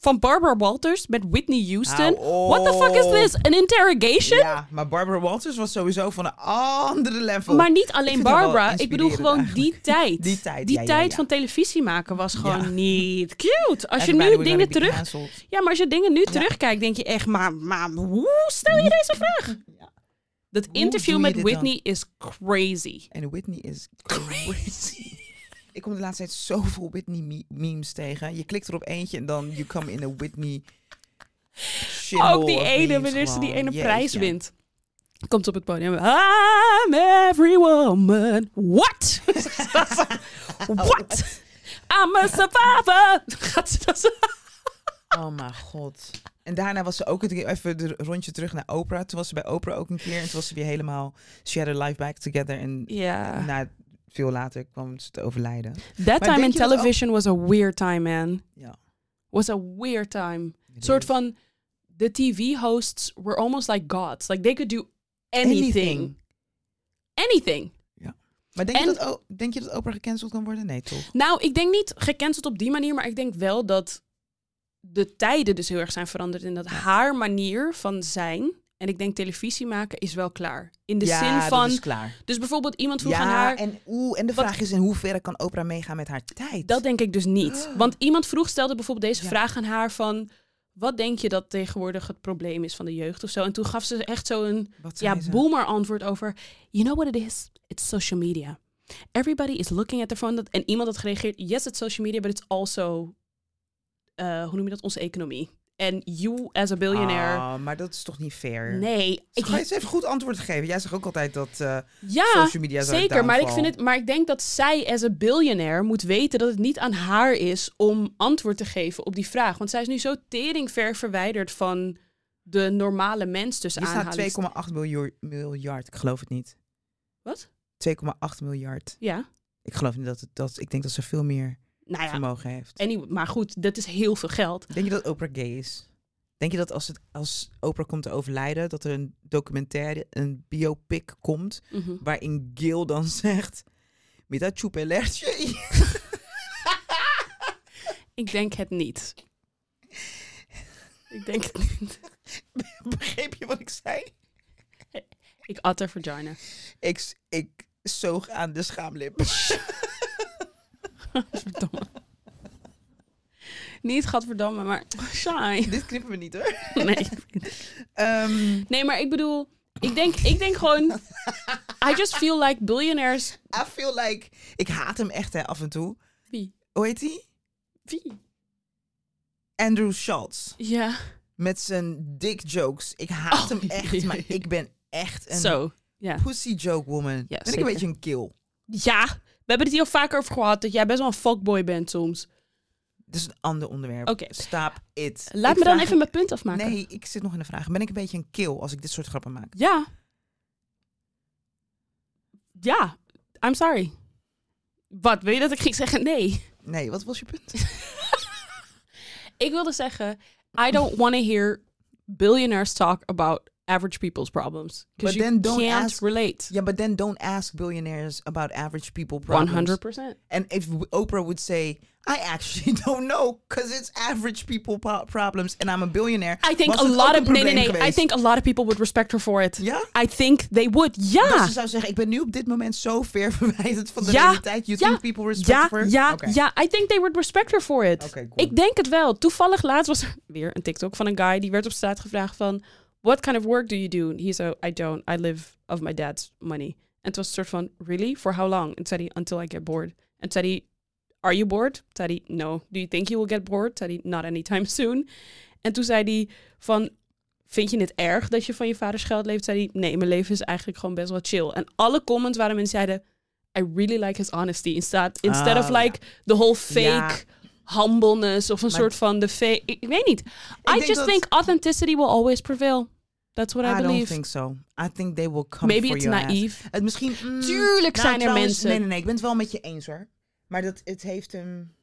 S1: van Barbara Walters met Whitney Houston.
S2: Hou
S1: What the fuck
S2: op.
S1: is this? An interrogation?
S2: Ja, maar Barbara Walters was sowieso van een andere level.
S1: Maar niet
S2: Ik
S1: alleen
S2: vind haar wel
S1: Barbara. Ik bedoel
S2: inspirerend
S1: gewoon die
S2: eigenlijk. <laughs>
S1: tijd.
S2: Die tijd, ja, ja, ja.
S1: van televisie maken was gewoon
S2: Ja.
S1: niet cute. Als je
S2: Everybody
S1: nu
S2: was gonna
S1: dingen
S2: be
S1: terug...
S2: cancelled.
S1: Ja, maar als je dingen nu terugkijkt, denk je echt... Maar, maar hoe stel je deze
S2: <laughs>
S1: vraag? Dat
S2: Hoe doe
S1: interview
S2: je
S1: met
S2: dit dan?
S1: Whitney is crazy.
S2: En Whitney is crazy. Ik kom de laatste tijd zoveel Whitney me- memes tegen. Je klikt er op eentje en dan you come in a Whitney. shingle
S1: Ook die
S2: of
S1: ene,
S2: memes
S1: wanneer ze die
S2: gewoon.
S1: ene
S2: Jeetje.
S1: prijs wint. Komt op het podium. I'm every woman.
S2: <laughs>
S1: What? What? I'm a survivor. Gaat ze dat zo?
S2: Oh mijn god. En daarna was ze ook een keer even een rondje terug naar Oprah. Toen was ze bij Oprah ook een keer. En toen was ze weer helemaal... She had her life back together. En
S1: Ja.
S2: na, veel later kwam ze te overlijden.
S1: <laughs> That time
S2: denk
S1: in
S2: je dat ook-
S1: television was a weird time, man.
S2: Ja.
S1: Was a weird time. Soort van, the TV hosts were almost like gods. Like, they could do anything. Anything.
S2: Maar denk,
S1: En-
S2: je dat, O- denk je dat Oprah gecanceld kan worden? Nee, toch?
S1: Nou, ik denk niet gecanceld op die manier, maar ik denk wel dat de tijden dus heel erg zijn veranderd en dat haar manier van zijn en ik denk televisie maken is wel klaar. In de
S2: ja,
S1: zin van,
S2: dat is klaar.
S1: dus bijvoorbeeld iemand vroeg
S2: Ja,
S1: aan haar,
S2: en, oeh, en de
S1: Wat-
S2: vraag is in hoeverre kan Oprah meegaan met haar tijd?
S1: dat denk ik dus niet. Want iemand vroeg stelde bijvoorbeeld deze
S2: Ah. Ja.
S1: vraag aan haar van, wat denk je dat tegenwoordig het probleem is van de jeugd of zo? En toen gaf ze echt zo'n
S2: Wat
S1: ja,
S2: zei ze?
S1: boomer antwoord over, you know what it is? It's social media. Everybody is looking at their phone. Dat- En iemand had gereageerd, yes, it's social media, but it's also, eh, hoe noem je dat, onze economie. En you as a billionaire.
S2: Ah, maar dat is toch niet fair?
S1: nee,
S2: Ik
S1: ik,
S2: ga je eens even goed antwoord geven. Jij zegt ook altijd dat eh,
S1: ja,
S2: social media zou
S1: zeker. Maar ik,
S2: downfall.
S1: vind het, maar ik denk dat zij as a billionaire moet weten dat het niet aan haar is om antwoord te geven op die vraag. Want zij is nu zo teringver verwijderd van de normale mens tussen
S2: Hier staat
S1: aanhalingstekens.
S2: 2,8 miljoen- miljard. Ik geloof het niet.
S1: Wat?
S2: 2,8 miljard.
S1: Ja.
S2: Ik geloof niet dat het dat. Ik denk dat ze veel meer
S1: Nou ja,
S2: vermogen heeft.
S1: anyway, maar goed, dat is heel veel geld. <laughs>
S2: Denk je dat Oprah gay is? Denk je dat als, het, als Oprah komt te overlijden, dat er een documentaire, een biopic komt,
S1: Mhm.
S2: waarin Gil dan <laughs> zegt: Met dat choepelertje.
S1: Ik denk het niet. Ik denk het niet.
S2: <laughs> Begreep je wat ik zei?
S1: Ik at haar vagina.
S2: Ik, ik zoog aan de schaamlip. <laughs>
S1: Verdomme. Niet gadverdamme, maar <laughs> saai.
S2: Dit knippen we niet hoor.
S1: Nee.
S2: Ehm,
S1: nee, maar ik bedoel... Ik denk, ik denk gewoon... I just feel like billionaires...
S2: I feel like. Ik haat hem echt hè, af en toe.
S1: Wie?
S2: Hoe heet hij?
S1: Wie?
S2: Andrew Schultz.
S1: Ja.
S2: Met zijn dick jokes. Ik haat
S1: Oh, <laughs>
S2: hem echt,
S1: jee.
S2: maar ik ben echt een
S1: Zo. Ja.
S2: pussy joke woman. ben ik
S1: zeker.
S2: een beetje een kill.
S1: Ja. We hebben het hier al vaker over gehad. Dat jij best wel een fuckboy bent soms.
S2: Dat is een ander onderwerp.
S1: Oké.
S2: Stop it.
S1: Laat
S2: Ik
S1: me dan
S2: vraag-
S1: even mijn punt afmaken.
S2: Nee, ik zit nog in de vraag. Ben ik een beetje een kill als ik dit soort grappen maak?
S1: Ja. Ja. I'm sorry. Wat, wil je dat ik ging zeggen? Nee.
S2: Nee, wat was je
S1: <laughs>
S2: punt?
S1: Ik wilde zeggen, I don't want to hear billionaires talk about average people's problems.
S2: But
S1: Because you
S2: then don't
S1: can't
S2: ask-
S1: relate.
S2: Ja, but then don't ask billionaires about average people problems.
S1: 100%.
S2: And if Oprah would say, I actually <laughs> don't know, because it's average people po- problems and I'm a billionaire.
S1: I think
S2: was
S1: a
S2: het ook
S1: lot
S2: een
S1: of nee, nee,
S2: probleem
S1: nee. I
S2: geweest?
S1: think a lot of people would respect her for it.
S2: Ja?
S1: I think they would. Ja.
S2: Dat Dus ze zou zeggen, ik ben nu op dit moment zo ver <laughs> verwijderd van de
S1: Ah. ja,
S2: realiteit. You
S1: ja,
S2: think people respect
S1: ja,
S2: for?
S1: Ja,
S2: Oké.
S1: ja, I think they would respect her for it.
S2: Oké, cool.
S1: Ik denk het wel. Toevallig laatst was er <laughs> weer een TikTok van een guy die werd op straat gevraagd van, what kind of work do you do? And he zei, I don't. I live of my dad's money. En het was een soort van, really? For how long? En toen zei hij, until I get bored. En toen zei hij, are you bored? Toen zei hij, no. Do you think you will get bored? Toen zei hij, not anytime <laughs> soon. En toen zei hij van, Vind je het erg dat je van je vaders geld leeft? Zei hij, nee, mijn leven is eigenlijk gewoon best wel chill. En alle comments waren mensen zeiden, I really like his honesty. Instead, instead
S2: Ah,
S1: of like the whole fake
S2: Ja.
S1: humbleness of een soort van de fake... Ik, ik weet niet. I
S2: denk
S1: just
S2: dat-
S1: think authenticity will always prevail. That's what I,
S2: I
S1: believe.
S2: don't think so. I think they will come
S1: Maybe
S2: for
S1: it's
S2: your ass.
S1: naïef.
S2: Het misschien. mm,
S1: Tuurlijk zijn er
S2: trouwens,
S1: mensen.
S2: Nee, nee, nee. Ik ben het wel met je eens hoor. Maar dat het heeft hem.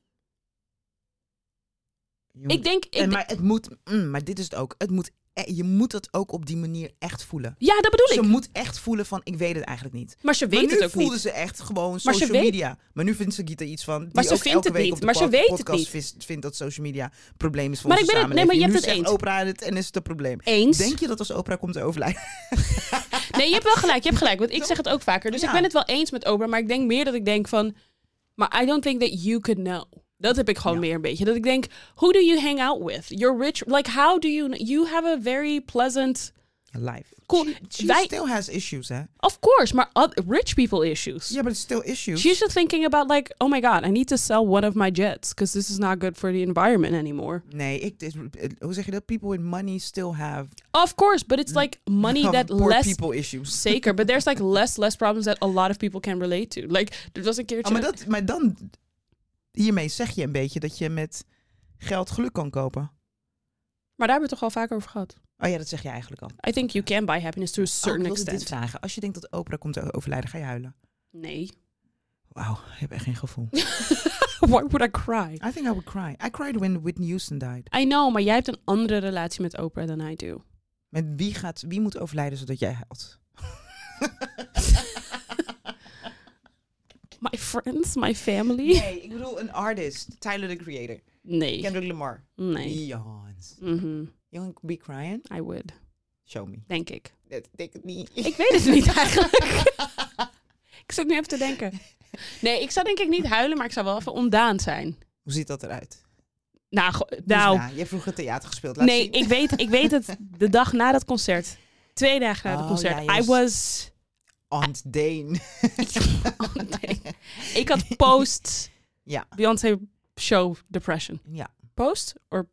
S2: Je moet-
S1: Ik denk... Ik
S2: en,
S1: d-
S2: maar het moet. mm, maar dit is het ook. Het moet. eh, Je moet dat ook op die manier echt voelen.
S1: ja, dat bedoel
S2: Ze
S1: ik.
S2: moet echt voelen van ik weet het eigenlijk niet.
S1: Maar ze weet
S2: maar nu
S1: het ook
S2: voelde
S1: niet.
S2: ze echt gewoon
S1: Maar ze
S2: social
S1: weet-
S2: media. Maar nu vindt Sagita iets van. Die
S1: Maar ze
S2: ook
S1: vindt
S2: elke
S1: het
S2: week
S1: niet,
S2: Op de
S1: maar ze
S2: pod-
S1: weet het
S2: podcast
S1: niet.
S2: vis- vindt dat social media een probleem is voor
S1: Maar
S2: onze
S1: ik ben het- nee,
S2: samenleving.
S1: maar je hebt
S2: nu
S1: het
S2: zegt
S1: eens.
S2: Oprah het en is het een probleem.
S1: Eens.
S2: Denk je dat als Oprah komt te overlijden? <laughs>
S1: Nee, je hebt wel gelijk. Je hebt gelijk. Want ik zeg het ook vaker. Dus
S2: Ja.
S1: ik ben het wel eens met Oprah. Maar ik denk meer dat ik denk van... Maar I don't think that you could know. Dat heb ik gewoon meer een beetje. Dat ik denk, who do you hang out with? You're rich. Like, how do you... You have a very pleasant
S2: life.
S1: Cool.
S2: She, she
S1: Wij-
S2: still has issues, hè?
S1: Of course, maar oth- rich people issues.
S2: Yeah, but it's still issues.
S1: She's just thinking about like, oh my god, I need to sell one of my jets because this is not good for the environment anymore.
S2: Nee, ik, dit- eh, hoe zeg je dat? People with money still have um,
S1: Of course, but it's like
S2: <laughs>
S1: money that
S2: Mm. poor
S1: less
S2: people issues.
S1: zeker, but there's
S2: <laughs>
S1: like less less problems that a lot of people can relate to. Like, er was een keertje.
S2: Oh, maar, dat, maar dan, hiermee zeg je een beetje dat je met geld geluk kan kopen.
S1: Maar daar hebben we het toch al vaker over gehad.
S2: Oh ja, dat zeg je eigenlijk al.
S1: I think you can buy happiness to a
S2: Oh,
S1: certain
S2: ik wilde dit
S1: extent.
S2: vragen. Als je denkt dat Oprah komt te overlijden, ga je huilen.
S1: Nee.
S2: Wauw, ik heb echt geen <laughs> gevoel.
S1: <laughs> Why would I cry?
S2: I think I would cry. I cried when Whitney Houston died.
S1: I know, maar jij hebt een andere relatie met Oprah dan I do.
S2: Met wie, gaat, wie moet overlijden zodat jij huilt?
S1: My friends, my family.
S2: <laughs> Nee, ik bedoel een artist. Tyler, the creator.
S1: Nee.
S2: Kendrick Lamar.
S1: Nee.
S2: Jans.
S1: Mhm.
S2: You gonna be crying?
S1: I would.
S2: Show me.
S1: Denk ik.
S2: Dat denk ik niet.
S1: Ik weet het niet eigenlijk. ik zit nu even te denken. Nee, ik zou denk ik niet huilen, maar ik zou wel even ondaan zijn.
S2: <laughs> Hoe ziet dat eruit?
S1: Nou, go-
S2: Dus
S1: nou
S2: na, je hebt vroeger theater gespeeld. Laat
S1: nee,
S2: zien.
S1: ik weet, ik weet het. De dag na dat concert. Twee dagen na het
S2: Oh,
S1: concert.
S2: ja,
S1: I
S2: juist.
S1: was...
S2: Aunt Dane.
S1: <laughs> Oh, nee. Ik had post
S2: <laughs> Ja.
S1: Beyoncé show depression.
S2: <laughs> Ja,
S1: Post? Or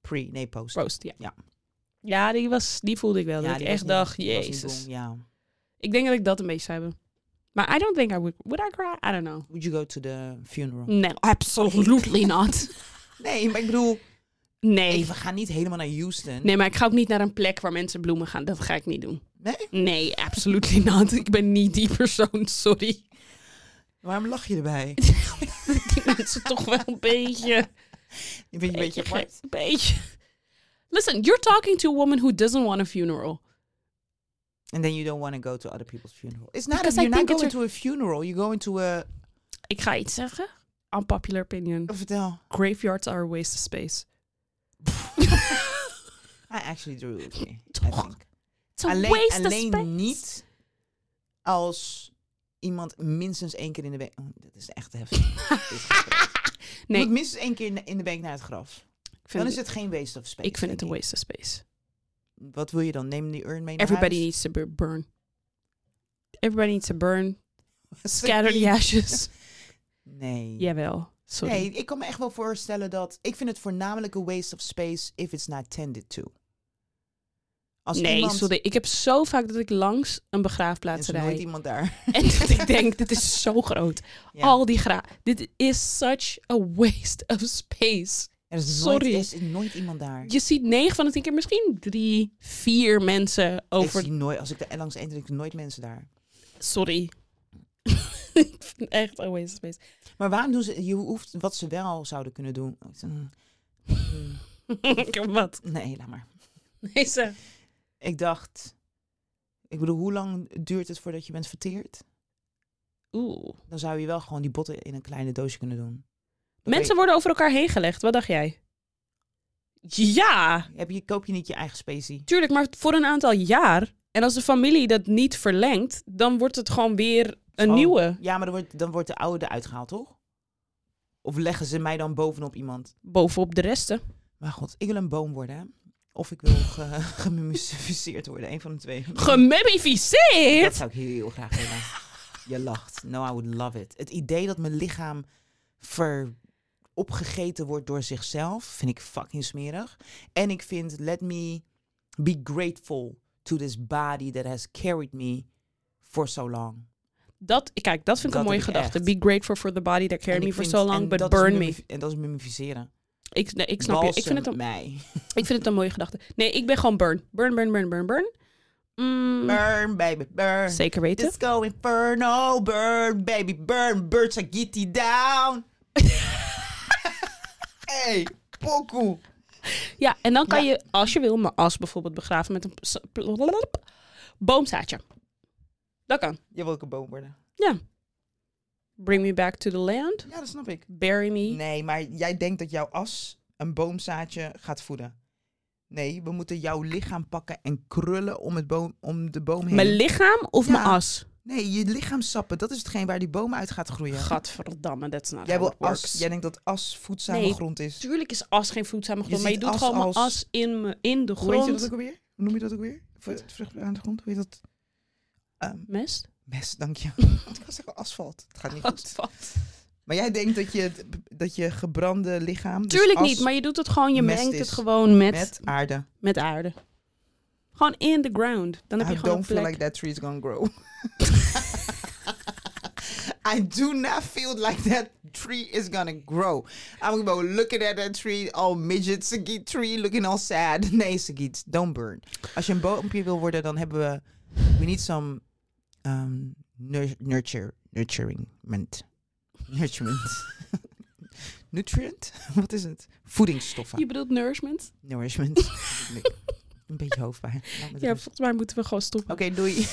S2: pre, nee post.
S1: post, ja.
S2: Ja.
S1: Ja, die, was, die voelde ik wel.
S2: Ja,
S1: dat
S2: die
S1: ik
S2: was
S1: echt
S2: niet-
S1: dacht,
S2: die was niet
S1: jezus.
S2: dom, Ja.
S1: Ik denk dat ik dat een beetje zou hebben. Maar I don't think I would... Would I cry? I don't know.
S2: Would you go to the funeral?
S1: Nee, <laughs> absolutely not.
S2: Nee, maar ik bedoel,
S1: Nee.
S2: hey, we gaan niet helemaal naar Houston.
S1: Nee, maar ik ga ook niet naar een plek waar mensen bloemen gaan. Dat ga ik niet doen.
S2: Nee?
S1: Nee, absolutely not. Ik ben niet die persoon, sorry.
S2: Waarom lach
S1: <laughs>
S2: je erbij?
S1: Ik denk dat ze toch wel een beetje...
S2: Je bent een beetje
S1: gek-
S2: apart.
S1: Een beetje. Listen, you're talking to a woman who doesn't want a funeral.
S2: And then you don't want to go to other people's funeral. It's not
S1: Because
S2: a,
S1: I
S2: you're not
S1: think it's
S2: going to a funeral. You're going to a... oh,
S1: Ik ga iets zeggen. Unpopular opinion.
S2: Vertel.
S1: Graveyards are a waste of space.
S2: I actually do <laughs> agree. I
S1: Toch?
S2: think.
S1: It's a
S2: alleen
S1: waste of space.
S2: alleen niet als iemand minstens één keer in de week... Oh, dat is echt
S1: <laughs>
S2: heftig. Dit is heftig. Je
S1: Nee,
S2: moet minstens één keer in de- in de week naar het graf.
S1: ik
S2: Dan
S1: vind,
S2: is
S1: het,
S2: het geen waste of space.
S1: ik vind het
S2: denk
S1: een waste of space.
S2: Wat wil je dan? Neem die urn mee naar
S1: Everybody
S2: huis?
S1: needs to bur- burn. Everybody needs to burn.
S2: Scatter
S1: Scatter the
S2: <laughs>
S1: ashes.
S2: Nee.
S1: Jawel. Sorry.
S2: Nee, ik kan me echt wel voorstellen dat... Ik vind het voornamelijk een waste of space if it's not tended to. Als
S1: nee,
S2: iemand,
S1: sorry. Ik heb zo vaak dat ik langs een
S2: Er
S1: begraafplaats
S2: is nooit
S1: rijd.
S2: iemand
S1: <laughs>
S2: daar.
S1: En dat ik denk, dit is zo groot.
S2: Ja.
S1: Al die gra... Dit is such a waste of space.
S2: Er is
S1: sorry.
S2: Nooit, er is nooit iemand daar.
S1: Je ziet 9 van de 10 keer misschien drie, vier mensen
S2: Ik
S1: over...
S2: zie nooit, als ik daar langs eindelijk nooit mensen daar.
S1: Sorry. <laughs> ik vind het echt a waste of space. <laughs>
S2: Maar waarom doen ze... Je hoeft wat ze wel zouden kunnen doen. Mm,
S1: <laughs> Ik heb Wat?
S2: Nee, laat maar.
S1: Nee, ze...
S2: Ik dacht... Ik bedoel, hoe lang duurt het voordat je bent verteerd?
S1: Oeh.
S2: Dan zou je wel gewoon die botten in een kleine doosje kunnen doen. Dan
S1: Mensen worden over elkaar heen gelegd. Wat dacht jij? Ja!
S2: kun je- Heb je, koop je niet je eigen specie?
S1: Tuurlijk, maar voor een aantal jaar. En als de familie dat niet verlengt, dan wordt het gewoon weer een
S2: Oh,
S1: nieuwe
S2: Ja, maar dan wordt, dan wordt de oude eruit gehaald, toch? Of leggen ze mij dan bovenop iemand?
S1: bovenop de resten.
S2: Maar god, ik wil een boom worden, hè? Of ik wil ge <laughs> gemummificeerd worden, een van de twee. Dat
S1: Gemummificeerd!
S2: zou ik heel graag willen. Je lacht. No, I would love it. Het idee dat mijn lichaam ver opgegeten wordt door zichzelf, vind ik fucking smerig. En ik vind, let me be grateful to this body that has carried me for so long.
S1: Dat, kijk, dat vind ik
S2: Dat
S1: een mooie
S2: heb ik
S1: gedachte.
S2: echt.
S1: Be grateful for the body that
S2: En
S1: carried me
S2: ik
S1: for
S2: vind-
S1: so
S2: en
S1: long, but
S2: dat is
S1: burn me.
S2: mummif- En dat is mummificeren.
S1: Ik, nee, ik snap je. Ik vind, het
S2: Balsem
S1: een,
S2: mij.
S1: ik vind het een mooie gedachte. Nee, ik ben gewoon burn. Burn, burn, burn, burn, burn. Mm,
S2: Burn, baby, burn.
S1: Zeker weten.
S2: Disco Inferno, burn, baby, burn. Birds are
S1: <laughs>
S2: getty down. hey, pokoe.
S1: Ja, en dan kan je, als je wil, mijn as bijvoorbeeld begraven met een s- plop- boomzaadje. Dat kan.
S2: Je wil ook een boom worden.
S1: Ja. Bring me back to the land.
S2: Ja, dat snap ik.
S1: Bury me.
S2: Nee, maar jij denkt dat jouw as een boomzaadje gaat voeden. Nee, we moeten jouw lichaam pakken en krullen om, het boom, om de boom heen.
S1: Mijn lichaam of
S2: Ja.
S1: mijn as?
S2: nee, je lichaam sappen. Dat is hetgeen waar die boom uit gaat groeien.
S1: Gadverdamme, that's not
S2: Jij,
S1: how
S2: wil
S1: it works.
S2: as, jij denkt dat as voedzame
S1: Nee,
S2: grond is.
S1: Tuurlijk is as geen voedzame grond, maar je
S2: ziet
S1: doet
S2: as
S1: gewoon mijn
S2: als-
S1: as in, me, in de
S2: Hoe heet je dat
S1: grond.
S2: ook alweer? hoe noem je dat ook weer? Vru- Vruchtbaar aan de grond, hoe heet dat? Ehm,
S1: Mest?
S2: mes,
S1: <laughs>
S2: dank je. Ik was zeggen asfalt. Het gaat niet goed.
S1: Asfalt.
S2: Maar jij denkt dat je, het- dat je gebrande lichaam... dus
S1: Tuurlijk
S2: as
S1: niet, maar je doet het gewoon, je
S2: mest
S1: mengt
S2: is
S1: het gewoon met, met?
S2: Met aarde.
S1: aarde. Gewoon in the ground. Dan heb
S2: I
S1: je gewoon een
S2: don't feel
S1: plek.
S2: like that tree is gonna grow. <laughs> I do not feel like that tree is gonna grow. I'm gonna go looking at that tree, all midget Sagitt tree, looking all sad. <laughs> Nee, Sagitt, don't burn. Als je een boompje wil worden, dan hebben we... We need some um, nur- nurture, nurturingment. Nurturement. <laughs> Nutrient? <laughs> Wat is het?
S1: Je
S2: Voedingsstoffen.
S1: bedoelt nourishment?
S2: Nourishment. <laughs> Nee, een beetje hoofdpijn. Laat me met
S1: Ja,
S2: rust.
S1: volgens mij moeten we gewoon stoppen.
S2: Oké, doei. <laughs>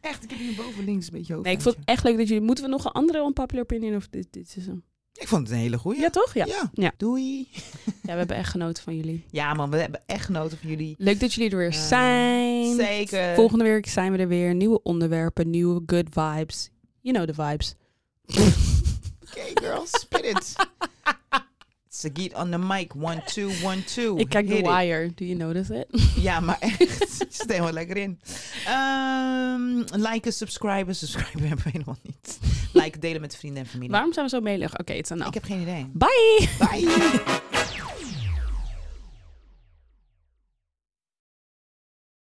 S2: Echt, ik heb hier boven links een beetje over.
S1: Nee, ik vond het echt leuk dat jullie... Moeten we nog een andere unpopular opinion of dit, dit is hem?
S2: Ik vond het een hele goeie.
S1: Ja, toch? Ja.
S2: Ja.
S1: Ja.
S2: Doei.
S1: ja, we hebben echt genoten van jullie.
S2: Ja man, we hebben echt genoten van jullie.
S1: Leuk dat jullie er weer
S2: Eh,
S1: zijn.
S2: Zeker.
S1: Volgende week zijn we er weer. Nieuwe onderwerpen, nieuwe good vibes. You know the vibes.
S2: Oké, girl, spit
S1: <laughs>
S2: it. Sagiet on the mic. One, two, one, two.
S1: Ik kijk
S2: Hit
S1: The
S2: it.
S1: Wire. Do you notice it?
S2: Ja, maar echt. <laughs> Je zit er helemaal lekker in. Ehm liken, subscriben. Subscriben <laughs> hebben we helemaal niet. Liken, delen met vrienden en familie.
S1: Waarom zijn we zo melig? Oké, het is aan
S2: Ik heb geen idee.
S1: Bye!
S2: Bye.